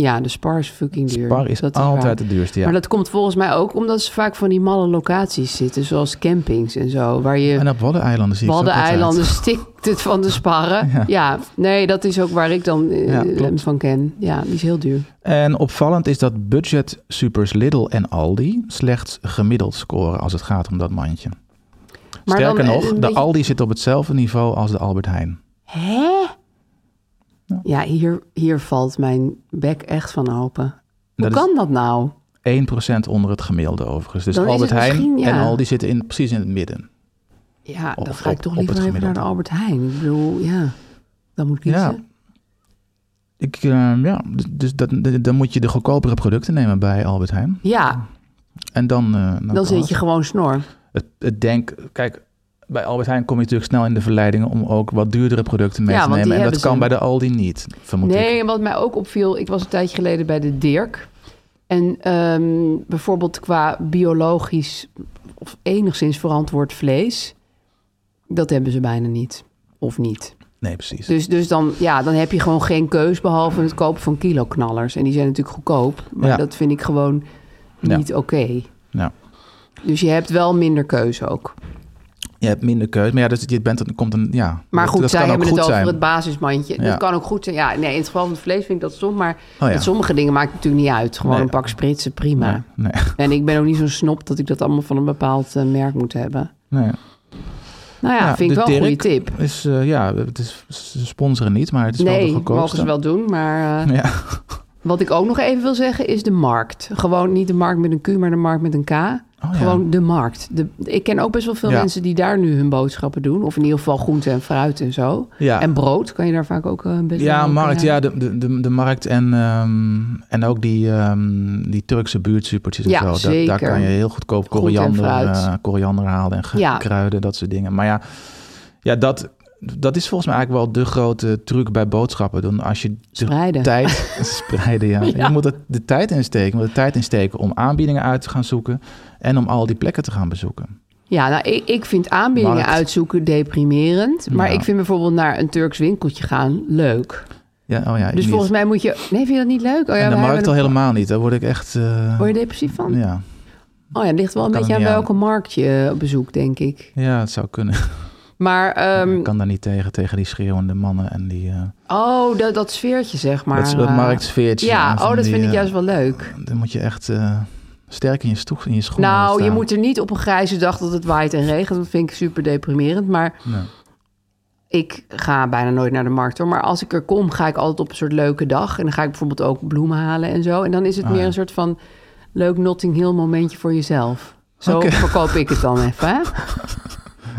Ja, de spar is fucking duur. Spar is, Dat altijd waar. de duurste, ja. Maar dat komt volgens mij ook omdat ze vaak van die malle locaties zitten, zoals campings en zo, waar En je op Waddeneilanden zie ik ze ook Waddeneilanden altijd. stikt het van de sparren. Ja. Ja. nee, dat is ook waar ik dan eh, Ja, klopt. hem van ken. Ja, die is heel duur. En opvallend is dat budget supers Lidl en Aldi slechts gemiddeld scoren als het gaat om dat mandje. Maar Sterker dan, eh, nog, de een beetje- Aldi zit op hetzelfde niveau als de Albert Heijn. Hè? Ja, hier, hier valt mijn bek echt van open. Hoe Dat is- kan dat nou? 1% onder het gemiddelde overigens. Dus Dan is Albert het Heijn misschien, ja. en Aldi zitten in, precies in het midden. Ja, Op- dan ga ik op- toch op liever het even naar de Albert Heijn. Ik bedoel, ja, dan moet ik kiezen. Ja. Ik, eh, ja, d- dus dat, d- dan moet je de goedkopere producten nemen bij Albert Heijn. Ja, En dan... eh, dan dan kan zit het. je gewoon snor. Het, het denk, kijk, bij Albert Heijn kom je natuurlijk snel in de verleidingen om ook wat duurdere producten mee Ja, te want die nemen. En dat hebben kan ze. bij de Aldi niet, vermoed Nee, ik. en wat mij ook opviel, ik was een tijdje geleden bij de Dirk. En ehm, bijvoorbeeld qua biologisch of enigszins verantwoord vlees, dat hebben ze bijna niet. Of niet. Nee, precies. Dus, dus dan, ja, dan heb je gewoon geen keus behalve het kopen van kiloknallers. En die zijn natuurlijk goedkoop, maar Ja. dat vind ik gewoon Ja. niet oké. Ja. Dus je hebt wel minder keuze ook. je hebt minder keus. Maar ja, dus je bent, er komt een, ja. Maar dat- goed, dat zij kan ook hebben goed het zijn. over het basismandje. Ja. Oh, Dat kan ook goed zijn. Ja, nee, in het geval van het vlees vind ik dat stom. Maar ja. met sommige dingen maakt het natuurlijk niet uit. Gewoon Nee. een pak spritsen, prima. Nee, En ik ben ook niet zo'n snop dat ik dat allemaal van een bepaald eh, merk moet hebben. nee. Nou ja, Ja, vind ik de wel een goede Dirk tip. Is, eh, ja, het is, ze sponsoren niet, maar het is wel de Nee, goedkoopste. mogen ze wel doen. Maar eh, Ja, Oh, wat ik ook nog even wil zeggen is de markt. Gewoon niet de markt met een Q, maar de markt met een K. Oh, ja. Gewoon de markt. De, ik ken ook best wel veel Ja. mensen die daar nu hun boodschappen doen. Of in ieder geval groente en fruit en zo. Ja. En brood kan je daar vaak ook eh, best ja wel- markt, ja, de, de, de, de markt en, ehm, en ook die, ehm, die Turkse buurtsupertjes en Ja, zo. Daar- Daar, zeker. kan je heel goedkoop Groente en koriander, fruit. eh, koriander halen en ge- Ja. kruiden, dat soort dingen. Maar ja, ja dat, dat is volgens mij eigenlijk wel de grote truc bij boodschappen doen. Als je de Spreiden. tijd spreiden, ja. Je moet er de tijd insteken. Je moet de tijd insteken om aanbiedingen uit te gaan zoeken en om al die plekken te gaan bezoeken. Ja, nou, ik, ik vind aanbiedingen Markt. uitzoeken deprimerend. Maar Ja. ik vind bijvoorbeeld naar een Turks winkeltje gaan leuk. Ja, oh ja, ik Dus niet. volgens mij moet je... Nee, vind je dat niet leuk? Oh, ja, en de we markt hebben al een- helemaal niet. Daar word ik echt... eh, Word je depressief van? ja. Oh ja, het ligt wel een Kan beetje er aan niet aan. welke markt je eh, op bezoekt, denk ik. ja, het zou kunnen. Maar, ehm, ik kan daar niet tegen, tegen die schreeuwende mannen en die... eh oh, dat, dat sfeertje, zeg maar. dat is dat eh, marktsfeertje. Ja, en van oh, dat die, vind ik eh, juist wel leuk. Dan moet je echt eh, sterk in je, stoeg, in je schoenen Nou, je staan. moet er niet op een grijze dag dat het waait en regent. Dat vind ik super deprimerend. Maar Nee. ik ga bijna nooit naar de markt hoor. Maar als ik er kom, ga ik altijd op een soort leuke dag. En dan ga ik bijvoorbeeld ook bloemen halen en zo. En dan Oh, is het meer een soort van leuk Notting Hill momentje voor jezelf. Zo Oké. verkoop ik het dan even. Hè?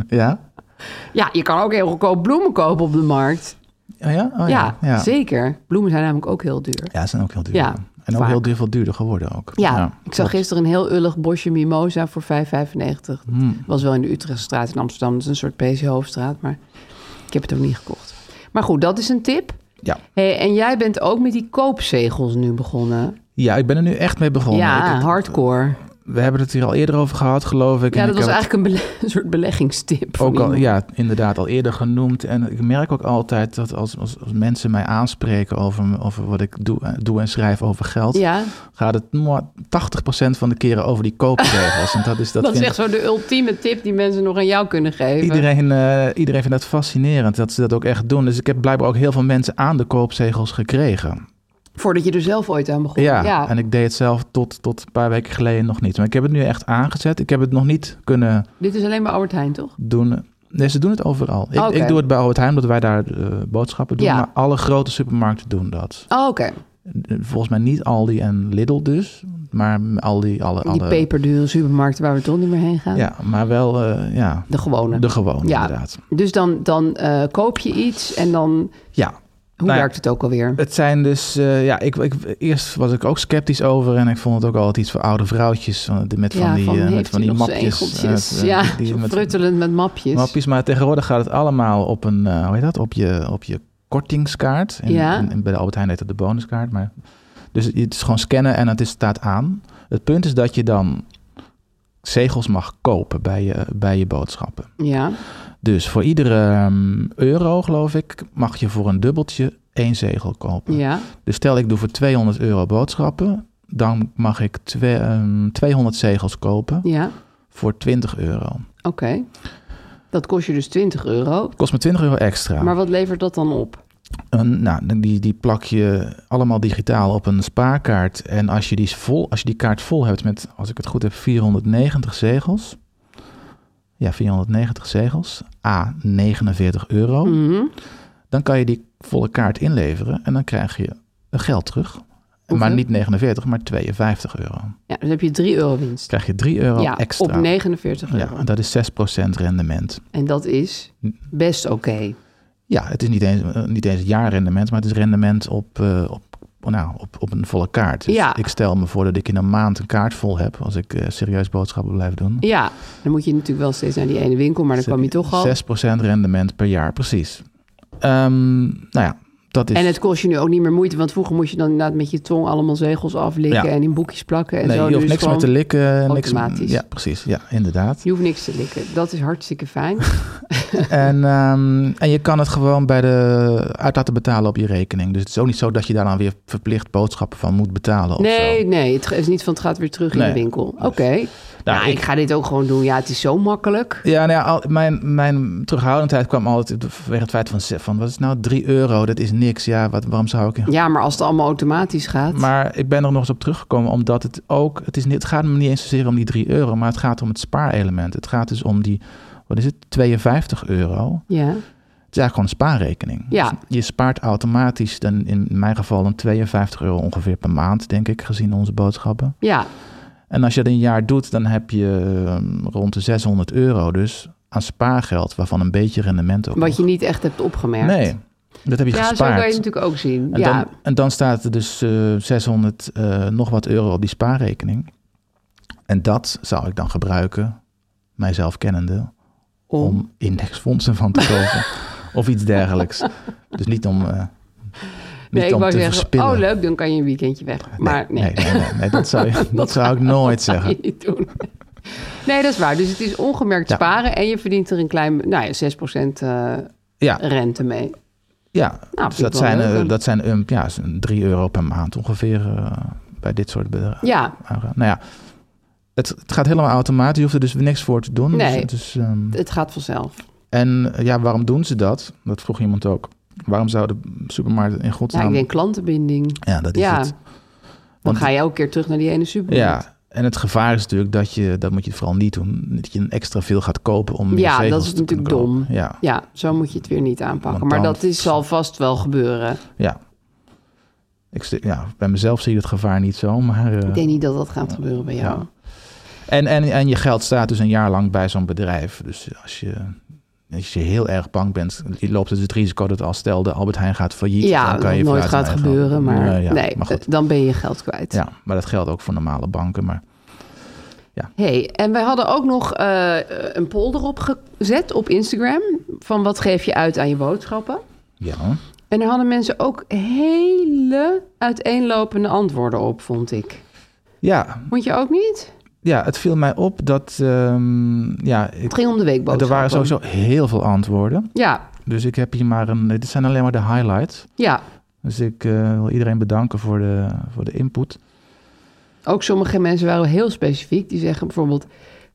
Ja? Ja, je kan ook heel goedkoop bloemen kopen op de markt. Oh ja? Oh, ja, ja. ja. zeker. Bloemen zijn namelijk ook heel duur. Ja, ze zijn ook heel duur. Ja, en ook vaak. heel duur, veel duurder geworden ook. Ja, ik zag klopt. gisteren een heel ullig bosje mimosa voor 5,95. Dat Hmm. was wel in de Utrechtstraat in Amsterdam. Dat is een soort PC Hoofdstraat, maar ik heb het ook niet gekocht. Maar goed, dat is een tip. Ja. Hey, en jij bent ook met die koopzegels nu begonnen. ja, ik ben er nu echt mee begonnen. Ik- ja, het- hardcore. we hebben het hier al eerder over gehad, geloof ik. Ja, En dat ik was heb het- eigenlijk een, bele- een soort beleggingstip. van Ook al, iemand. ja, inderdaad, al eerder genoemd. En ik merk ook altijd dat als, als, als mensen mij aanspreken over, over wat ik doe, eh, doe en schrijf over geld, ja, gaat het maar 80% van de keren over die koopregels. en dat is, dat dat is vindt- echt zo de ultieme tip die mensen nog aan jou kunnen geven. Iedereen, eh, iedereen vindt dat fascinerend dat ze dat ook echt doen. Dus ik heb blijkbaar ook heel veel mensen aan de koopzegels gekregen. Voordat je er zelf ooit aan begon. Ja, en ik deed het zelf tot, tot een paar weken geleden nog niet. Maar ik heb het nu echt aangezet. Ik heb het nog niet kunnen Dit is alleen maar Albert Heijn, toch? doen. Nee, ze doen het overal. Ik, Oké. ik doe het bij Albert Heijn, omdat wij daar eh, boodschappen doen. Ja. Maar alle grote supermarkten doen dat. Oh, oké. Eh, Volgens mij niet Aldi en Lidl dus, maar Aldi, alle Die andere. peperdure supermarkten waar we toch niet meer heen gaan. Ja, maar wel eh, ja, De gewone. de gewone Ja. inderdaad. Dus dan, dan eh, koop je iets en dan... Ja. Hoe Nou ja, werkt het ook alweer? Het zijn dus, eh, ja, ik, ik, eerst was ik ook sceptisch over en ik vond het ook altijd iets voor oude vrouwtjes van, met van die, eh, met heeft van u die nog mapjes. zegeltjes? eh, ja, die- zo met fruttelend met mapjes. mapjes, maar tegenwoordig gaat het allemaal op een, eh, hoe heet dat, op je, op je kortingskaart. En, Ja. en- en bij de Albert Heijn heet dat de bonuskaart, maar dus het is gewoon scannen en het is, staat aan. Het punt is dat je dan zegels mag kopen bij je, bij je boodschappen. Ja, Dus voor iedere ehm, euro, geloof ik, mag je voor een dubbeltje één zegel kopen. ja. Dus stel ik doe voor 200 euro boodschappen, dan mag ik twee, ehm, 200 zegels kopen ja. voor 20 euro. Oké. Dat kost je dus 20 euro. Kost me 20 euro extra. Maar wat levert dat dan op? Een- nou, die, die plak je allemaal digitaal op een spaarkaart. En als je, die is vol, als je die kaart vol hebt met, als ik het goed heb, 490 zegels. Ja, 490 zegels. A, 49 euro. Mhm. Dan kan je die volle kaart inleveren en dan krijg je geld terug. Hoeveel? Maar niet 49, maar 52 euro. Ja, dus heb je 3 euro winst. krijg je 3 euro ja, extra. op 49 euro. Ja, dat is 6% rendement. En dat is best oké. Ja, het is niet eens, eh, niet eens jaarrendement, maar het is rendement op, eh, op, nou, op, op een volle kaart. Dus Ja. ik stel me voor dat ik in een maand een kaart vol heb als ik eh, serieus boodschappen blijf doen. Ja, dan moet je natuurlijk wel steeds naar die ene winkel, maar dan kwam je toch al. 6% rendement per jaar, precies. Ehm, nou ja, dat is... En het kost je nu ook niet meer moeite, want vroeger moest je dan inderdaad met je tong allemaal zegels aflikken Ja. en in boekjes plakken en nee, zo. Dus je Nu hoeft is niks gewoon- meer te likken. Niks, automatisch. ja, precies. Ja, inderdaad. Je hoeft niks te likken. Dat is hartstikke fijn. En, ehm, en je kan het gewoon bij de uit laten betalen op je rekening. Dus het is ook niet zo dat je daar dan weer verplicht boodschappen van moet betalen. of zo. Nee, nee, het is niet van het gaat weer terug in Nee. de winkel. Oké, Nou, ik... ga dit ook gewoon doen. Ja, het is zo makkelijk. Ja, nou ja, al- mijn, mijn terughoudendheid kwam altijd vanwege het feit van, ze- van wat is het nou 3 euro, dat is niks. Ja, wat, waarom zou ik... Ja, maar als het allemaal automatisch gaat. Maar ik ben er nog eens op teruggekomen, omdat het ook... Het, is niet, het gaat me niet eens zozeer om die 3 euro, maar het gaat om het spaarelement. Het gaat dus om die, wat is het, 52 euro. Ja. Het is eigenlijk gewoon een spaarrekening. Ja. Dus je spaart automatisch, dan in mijn geval, dan 52 euro ongeveer per maand, denk ik, gezien onze boodschappen. ja, En als je dat een jaar doet, dan heb je ehm, rond de 600 euro dus aan spaargeld, waarvan een beetje rendement ook. wat nog. je niet echt hebt opgemerkt. Nee, dat heb je Ja, zo kan je gespaard. het natuurlijk ook zien. en, ja. dan, en dan staat er dus eh, 600 eh, nog wat euro op die spaarrekening. En dat zou ik dan gebruiken, mijzelf kennende, om. om indexfondsen van te kopen. of iets dergelijks. Dus niet om, eh, niet nee, om ik te wou zeggen, verspillen. oh leuk, dan kan je een weekendje weg. maar nee, Nee, nee, nee, nee, dat zou, je- dat zou ik nooit ga zeggen. je niet doen. Nee, dat is waar. Dus het is ongemerkt Ja. sparen en je verdient er een klein, nou ja, 6% eh, Ja, rente mee. Ja, Nou, dus vind dat ik wel zijn, leuk eh, dan. dat zijn um, ja, zo'n 3 euro per maand ongeveer eh, bij dit soort bedragen. Ja, Nou ja, het, het gaat helemaal automatisch. Je hoeft er dus niks voor te doen. Nee. Dus, het is, ehm, het gaat vanzelf. en eh, ja, waarom doen ze dat? Dat vroeg iemand ook. Waarom zouden supermarkten in Ja, godsnaam... ik denk klantenbinding. Ja, dat is ja, het. dan Want- ga je elke keer terug naar die ene supermarkt. Ja, en het gevaar is natuurlijk dat je... Dat moet je vooral niet doen. Dat je een extra veel gaat kopen om meer Ja, dat zegels is te kunnen natuurlijk kopen. dom. Ja, Ja, zo moet je het weer niet aanpakken. Want Maar dan- dat is, zal vast wel gebeuren. ja. Ik, zie- ja, bij mezelf zie je het gevaar niet zo, maar... eh, Ik denk niet dat dat gaat gebeuren bij jou. Ja. En, en, en je geld staat dus een jaar lang bij zo'n bedrijf. Dus als je, als je heel erg bang bent, loopt dus het het risico dat als stel de Albert Heijn gaat failliet. Ja, dan dat kan je nooit vanuit gaat een eigen- gebeuren, maar Ja, ja, nee, maar goed. dan ben je geld kwijt. Ja, maar dat geldt ook voor normale banken. Maar Hey, en wij hadden ook nog eh, een poll erop gezet op Instagram. Van wat geef je uit aan je boodschappen? ja, En er hadden mensen ook hele uiteenlopende antwoorden op, vond ik. ja, Vond je ook niet? ja het viel mij op dat. ehm, ja, ik- Het ging om de er weekboodschappen. waren sowieso heel veel antwoorden. Ja, Dus ik heb hier maar een. Dit zijn alleen maar de highlights. ja. Dus ik eh, wil iedereen bedanken voor de, voor de input. Ook sommige mensen waren heel specifiek. Die zeggen bijvoorbeeld...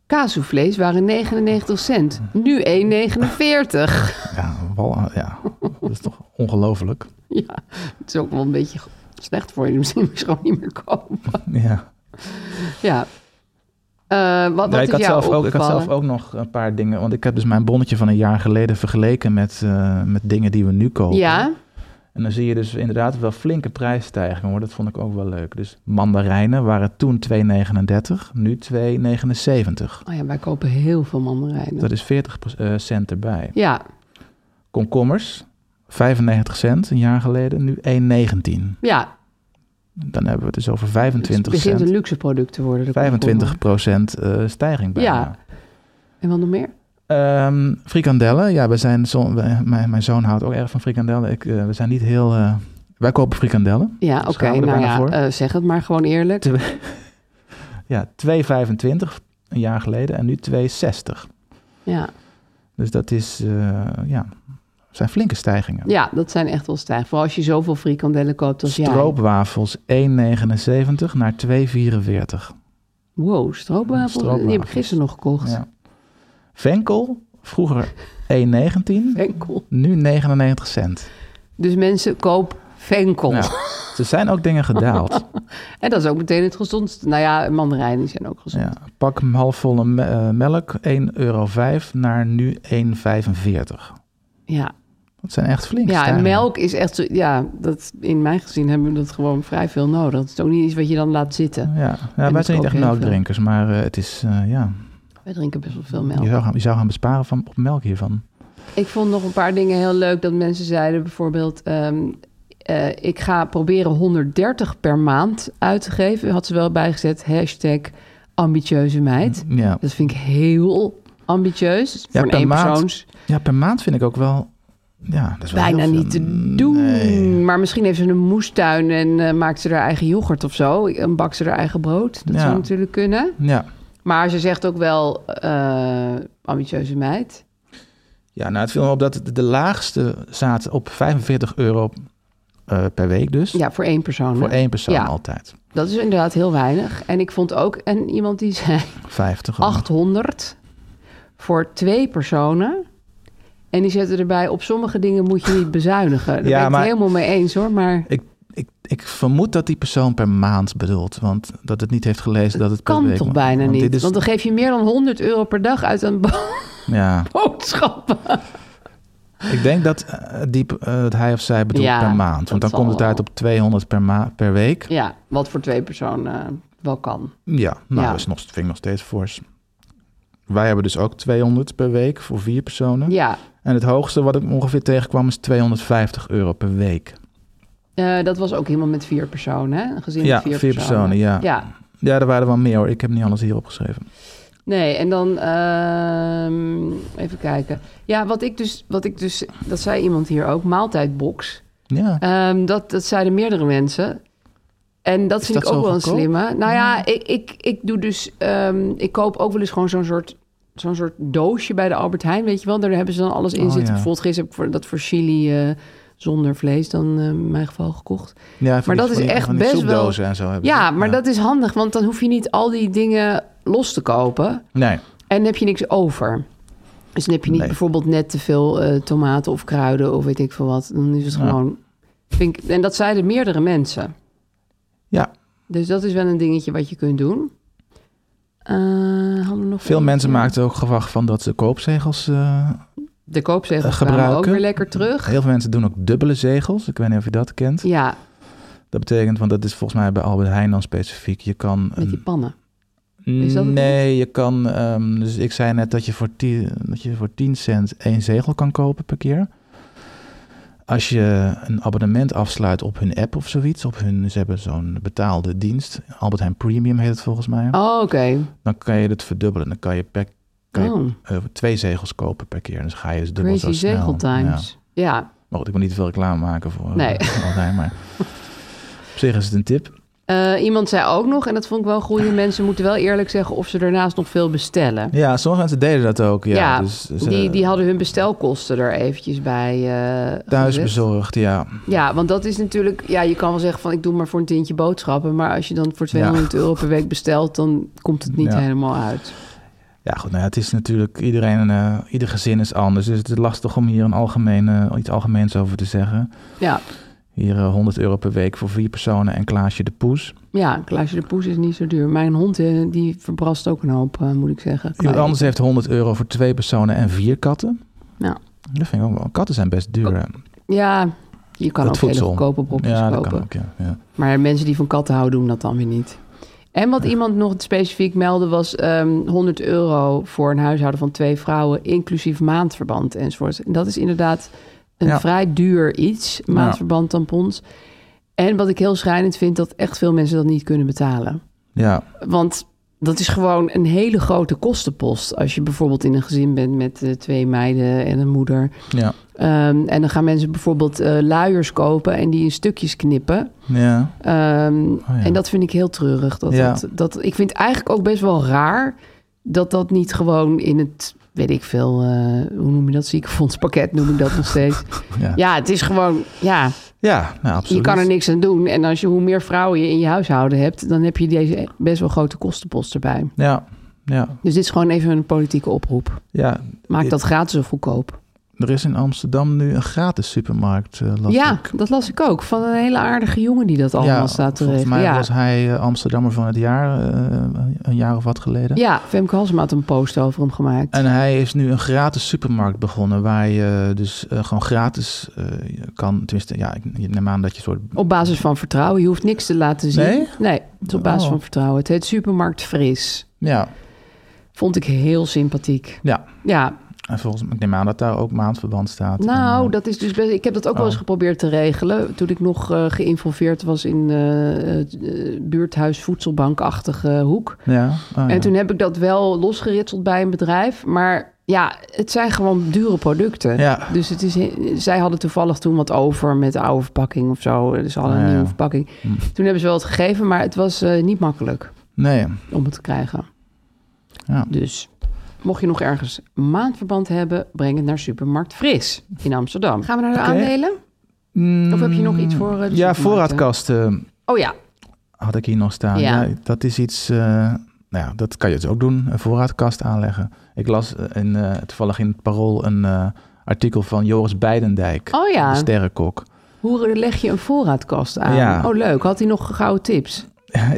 Kaassoeflees waren 99 cent. Nu 1,49. Ja, wal, ja dat is toch ongelooflijk. Ja, het is ook wel een beetje slecht voor je. Misschien moet je ze gewoon niet meer kopen. Ja. Ja. Eh, wat, wat Ja, ik, is had jou zelf ook, ik had opgevallen? zelf ook nog een paar dingen. Want ik heb dus mijn bonnetje van een jaar geleden vergeleken met, eh, met dingen die we nu kopen. Ja, En dan zie je dus inderdaad wel flinke prijsstijgingen hoor. Dat vond ik ook wel leuk. Dus mandarijnen waren toen 2,39, nu 2,79. Oh ja, wij kopen heel veel mandarijnen. Dat is 40 pro- eh, cent erbij. Ja, Komkommers, 95 cent een jaar geleden, nu 1,19. ja. Dan hebben we het dus over het 25 begint een cent. luxe product te worden. de 25 komkommer. procent eh, stijging bijna. Ja. En wat nog meer? Ehm, frikandellen, ja, we zijn zo, wij- mijn, mijn zoon houdt ook erg van frikandellen. Ik, eh, we zijn niet heel. eh, wij kopen frikandellen. Ja, oké. Schamen we er nou bijna ja, voor? eh, zeg het maar gewoon eerlijk. Ja, 2,25 een jaar geleden en nu 2,60. Ja. Dus dat is, eh, ja, zijn flinke stijgingen. ja, dat zijn echt wel stijg. Vooral als je zoveel frikandellen koopt als jij. Stroopwafels 1,79 naar 2,44. Wow, stroopwafels. Stroopwafels. Die heb ik gisteren nog gekocht. Ja. Venkel, vroeger 1,19, Venkel. nu 99 cent. Dus mensen, koop venkel. Ja. Er zijn ook dingen gedaald. En dat is ook meteen het gezondste. Nou ja, mandarijnen zijn ook gezond. Ja, pak hem halfvolle me- eh, melk, 1,05 euro naar nu 1,45. Ja, Dat zijn echt flink. ja en stijgingen. melk is echt zo... Ja, dat, in mijn gezin hebben we dat gewoon vrij veel nodig. Dat is ook niet iets wat je dan laat zitten. Ja, ja wij dat zijn ook niet echt heel melkdrinkers, maar eh, het is, eh, ja, Wij drinken best wel veel melk. je zou, gaan, je zou gaan besparen van, op melk hiervan. Ik vond nog een paar dingen heel leuk dat mensen zeiden. Bijvoorbeeld, ehm, eh, ik ga proberen 130 per maand uit te geven. Had ze wel bijgezet, hashtag ambitieuze meid. Ja. Dat vind ik heel ambitieus. Ja, voor een per maand eenpersoons ja, per maand vind ik ook wel, ja, dat is wel bijna heel veel. niet te doen. Nee. Maar misschien heeft ze een moestuin en eh, maakt ze haar eigen yoghurt of zo. En bakt ze haar eigen brood. Dat Ja. zou natuurlijk kunnen. Ja. Maar ze zegt ook wel eh, ambitieuze meid. ja, nou het viel me op dat de, de laagste staat op 45 euro eh, per week dus. Ja, voor één persoon. Voor hè? één persoon Ja. altijd. Dat is inderdaad heel weinig. En ik vond ook en iemand die zei 50. al. 800 voor twee personen. En die zetten erbij, op sommige dingen moet je niet bezuinigen. Daar Ja, ben ik maar- het helemaal mee eens hoor. Maar Ik, ik, ik vermoed dat die persoon per maand bedoelt. Want dat het niet heeft gelezen dat het per kan week toch moet. bijna Want dit niet? is- Want dan geef je meer dan 100 euro per dag uit aan bo- ja. boodschappen. Ik denk dat eh, die, eh, dat hij of zij bedoelt Ja, per maand. dat Want dan zal komt het wel. uit op 200 per, ma- per week. Ja, wat voor twee personen eh, wel kan. Ja, nou, Ja. dat is nog, vind ik nog steeds fors. Wij hebben dus ook 200 per week voor vier personen. Ja, En het hoogste wat ik ongeveer tegenkwam is 250 euro per week. eh, dat was ook iemand met vier personen, hè? Een gezin Ja, met vier, vier personen, ja. ja. Ja, er waren er wel meer hoor. Ik heb niet alles hier opgeschreven. Nee, en dan ehm, even kijken. Ja, wat ik dus, wat ik dus, dat zei iemand hier ook, maaltijdbox. Ja, Ehm, dat, dat zeiden meerdere mensen. En dat Is vind dat ik ook zo wel een goedkoop? slimme. Nou ja, ik, ik, ik doe dus, ehm, ik koop ook wel eens gewoon zo'n soort, zo'n soort doosje bij de Albert Heijn, weet je wel? Daar hebben ze dan alles in Oh, zitten. ja. Bijvoorbeeld gisteren heb ik voor, dat voor chili eh, zonder vlees dan eh, in mijn geval gekocht. ja van Maar die- dat van is die- echt van die best wel. soepdozen en zo hebben Ja, ze. maar dat is handig, want dan hoef je niet al die dingen los te kopen. Nee, En dan heb je niks over. Dus dan heb je niet Nee. bijvoorbeeld net te veel eh, tomaten of kruiden of weet ik veel wat. Dan is het Ja. gewoon. Vind ik, en dat zeiden meerdere mensen. ja. Dus dat is wel een dingetje wat je kunt doen. Eh, hadden we nog Veel eentje? mensen maakten ook gewacht van dat ze koopzegels... eh, De koopzegels eh, kwamen ook gebruiken. weer lekker terug. heel veel mensen doen ook dubbele zegels. Ik weet niet of je dat kent. Ja, Dat betekent, want dat is volgens mij bij Albert Heijn dan specifiek. Je kan met een- die pannen. Is dat het nee, je kan. ehm, dus ik zei net dat je, voor 10, dat je voor 10 cent één zegel kan kopen per keer. Als je een abonnement afsluit op hun app of zoiets, op hun, ze hebben zo'n betaalde dienst. Albert Heijn Premium heet het volgens mij. Oh, oké. Dan kan je het verdubbelen. Dan kan je, per, kan je Oh, eh, twee zegels kopen per keer. Dus ga je dus dubbel crazy zo snel. zegeltimes. ja. Ja. Maar goed, ik moet niet te veel reclame maken voor Nee. nee. Albert Heijn. Maar op zich is het een tip. Eh, iemand zei ook nog, en dat vond ik wel goed, mensen moeten wel eerlijk zeggen of ze daarnaast nog veel bestellen. Ja, sommige mensen deden dat ook. Ja, dus ze- die, die hadden hun bestelkosten er eventjes bij. eh, thuis gezet. bezorgd, ja. Ja, want dat is natuurlijk, ja, je kan wel zeggen van ik doe maar voor een tientje boodschappen, maar als je dan voor 200 euro per week bestelt, dan komt het niet Ja. helemaal uit. Ja, goed, nou ja, het is natuurlijk iedereen, eh, ieder gezin is anders. Dus het is lastig om hier een algemene, iets algemeens over te zeggen. Ja, Hier eh, 100 euro per week voor vier personen en Klaasje de Poes. ja, Klaasje de Poes is niet zo duur. Mijn hond, eh, die verbrast ook een hoop, eh, moet ik zeggen. Iemand anders heeft 100 euro voor twee personen en vier katten. Ja. Dat vind ik ook wel. Katten zijn best duur. hè. Ja, je kan Het ook hele voedsel. goedkope brokjes Ja, dat kopen. kan ook, ja. ja. Maar mensen die van katten houden doen dat dan weer niet. En wat iemand nog specifiek meldde was ehm 100 euro voor een huishouden van twee vrouwen, inclusief maandverband enzovoort. En dat is inderdaad een Ja. vrij duur iets, maandverband, tampons. En wat ik heel schrijnend vind, dat echt veel mensen dat niet kunnen betalen. Ja, Want dat is gewoon een hele grote kostenpost. Als je bijvoorbeeld in een gezin bent met eh, twee meiden en een moeder. ja, Ehm, en dan gaan mensen bijvoorbeeld eh, luiers kopen en die in stukjes knippen. ja. Ehm, Oh ja. En dat vind ik heel treurig. Dat, Ja. dat, dat, ik vind eigenlijk ook best wel raar dat dat niet gewoon in het, weet ik veel, eh, hoe noem je dat? Ziekenfondspakket noem ik dat nog steeds. Ja, ja. Ja, het is gewoon, ja, nou, absoluut. je kan er niks aan doen. En als je hoe meer vrouwen je in je huishouden hebt, dan heb je deze best wel grote kostenpost erbij. Ja, ja, Dus dit is gewoon even een politieke oproep. ja. Maak Ja. dat gratis of goedkoop. Er is in Amsterdam nu een gratis supermarkt. eh, las ja, ik. dat las ik ook. Van een hele aardige jongen die dat allemaal staat te Volgens regelen. mij ja. was hij eh, Amsterdammer van het jaar, eh, een jaar of wat geleden. ja, Femke Halsema had een post over hem gemaakt. En hij is nu een gratis supermarkt begonnen, waar je dus eh, gewoon gratis eh, je kan, tenminste, ja, ik ik neem aan dat je soort... Op basis van vertrouwen. Je hoeft niks te laten zien. Nee? het is op basis Oh. van vertrouwen. Het heet Supermarkt Fris. Ja, Vond ik heel sympathiek. ja. Ja, En volgens mij, ik neem aan dat daar ook maandverband staat. En, nou, eh, dat is dus best... Ik heb dat ook wel eens Oh. geprobeerd te regelen. Toen ik nog eh, geïnvolveerd was in eh, het, eh, buurthuis voedselbankachtige hoek. Ja. Oh, ja. En toen heb ik dat wel losgeritseld bij een bedrijf. Maar ja, het zijn gewoon dure producten. Ja. Dus het is, zij hadden toevallig toen wat over met de oude verpakking of zo. Dus ze hadden Oh, Ja, Hm. een ja. nieuwe verpakking. Toen hebben ze wel wat gegeven, maar het was eh, niet makkelijk Nee, om het te krijgen. Ja. Dus mocht je nog ergens maandverband hebben, breng het naar Supermarkt Fris in Amsterdam. Gaan we naar de Oké. aandelen? Of heb je nog iets voor? eh, de Mm, ja, supermarkten? voorraadkasten. Oh ja, had ik hier nog staan. Ja. Ja. dat is iets. eh, nou ja, dat kan je dus ook doen. Een voorraadkast aanleggen. Ik las eh, in, eh, toevallig in het Parool een eh, artikel van Joris Beidendijk. Oh ja. De sterrenkok. Hoe leg je een voorraadkast aan? Ja. Oh, leuk. Had hij nog gouden tips?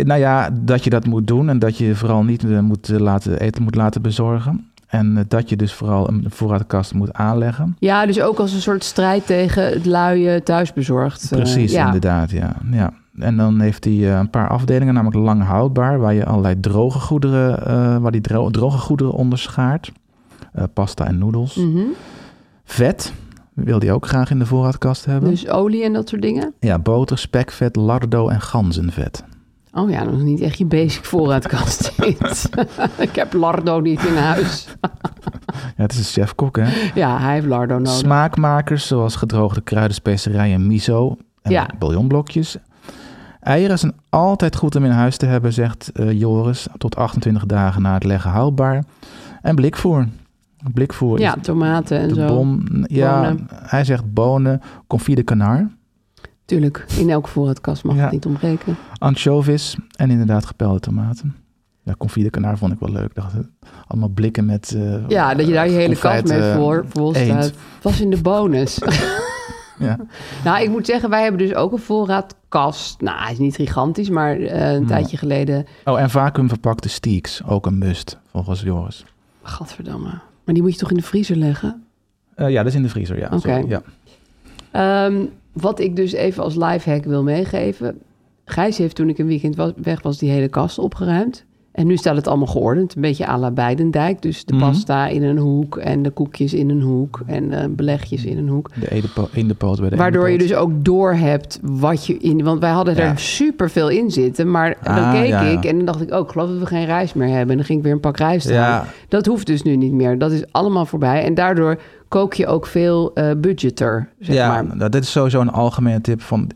nou ja, dat je dat moet doen. En dat je vooral niet eh, moet eh, laten, eten moet laten bezorgen. En eh, dat je dus vooral een voorraadkast moet aanleggen. Ja, dus ook als een soort strijd tegen het luie thuisbezorgd. eh, Precies, ja. inderdaad. Ja. Ja. En dan heeft hij eh, een paar afdelingen, namelijk lang houdbaar, waar je allerlei droge goederen, eh, waar die dro- droge goederen onderschaart. Eh, pasta en noedels. Mhm. Vet wil hij ook graag in de voorraadkast hebben. Dus olie en dat soort dingen? Ja, boter, spekvet, lardo en ganzenvet. Oh ja, dat is niet echt je basic voorraadkast. dit. Ik heb lardo niet in huis. Ja, het is een chef-kok, hè? Ja, hij heeft lardo nodig. Smaakmakers zoals gedroogde kruiden, specerijen, miso en Ja. bouillonblokjes. Eieren zijn altijd goed om in huis te hebben, zegt eh, Joris. Tot 28 dagen na het leggen houdbaar. En blikvoer. Blikvoer ja, is tomaten en de zo. bom. Ja, Bonen. hij zegt bonen, confit de canard, Tuurlijk, in elke voorraadkast mag Ja. het niet ontbreken. anchovies en inderdaad gepelde tomaten. Ja, confit de canard vond ik wel leuk. Ik Dacht, eh, allemaal blikken met... eh, Ja, dat je daar je eh, hele kast confit, mee eh, voor, vol eend. staat. Was in de bonus. Ja. nou, ik moet zeggen, wij hebben dus ook een voorraadkast. Nou, hij is niet gigantisch, maar eh, een tijdje geleden. Oh, en vacuümverpakte steaks, ook een must, volgens Joris. Gadverdamme. Maar die moet je toch in de vriezer leggen? Eh, ja, dat is in de vriezer, ja. Oké. Sorry, ja. Ehm, wat ik dus even als lifehack wil meegeven. Gijs heeft toen ik een weekend was- weg was die hele kast opgeruimd. En nu staat het allemaal geordend. Een beetje à la Beidendijk. Dus de Mhm. pasta in een hoek en de koekjes in een hoek en eh, belegjes in een hoek. De edepo- in de poot bij de Waardoor je edepoot. dus ook door hebt wat je in. Want wij hadden Ja. er super veel in zitten. Maar dan Ah, keek ja, ja. ik en dan dacht ik ook, ik geloof dat we geen rijst meer hebben. En dan ging ik weer een pak rijst halen. Ja. Dat hoeft dus nu niet meer. Dat is allemaal voorbij. En daardoor kook je ook veel eh, budgetter. Zeg ja, maar. nou, dit is sowieso een algemene tip van...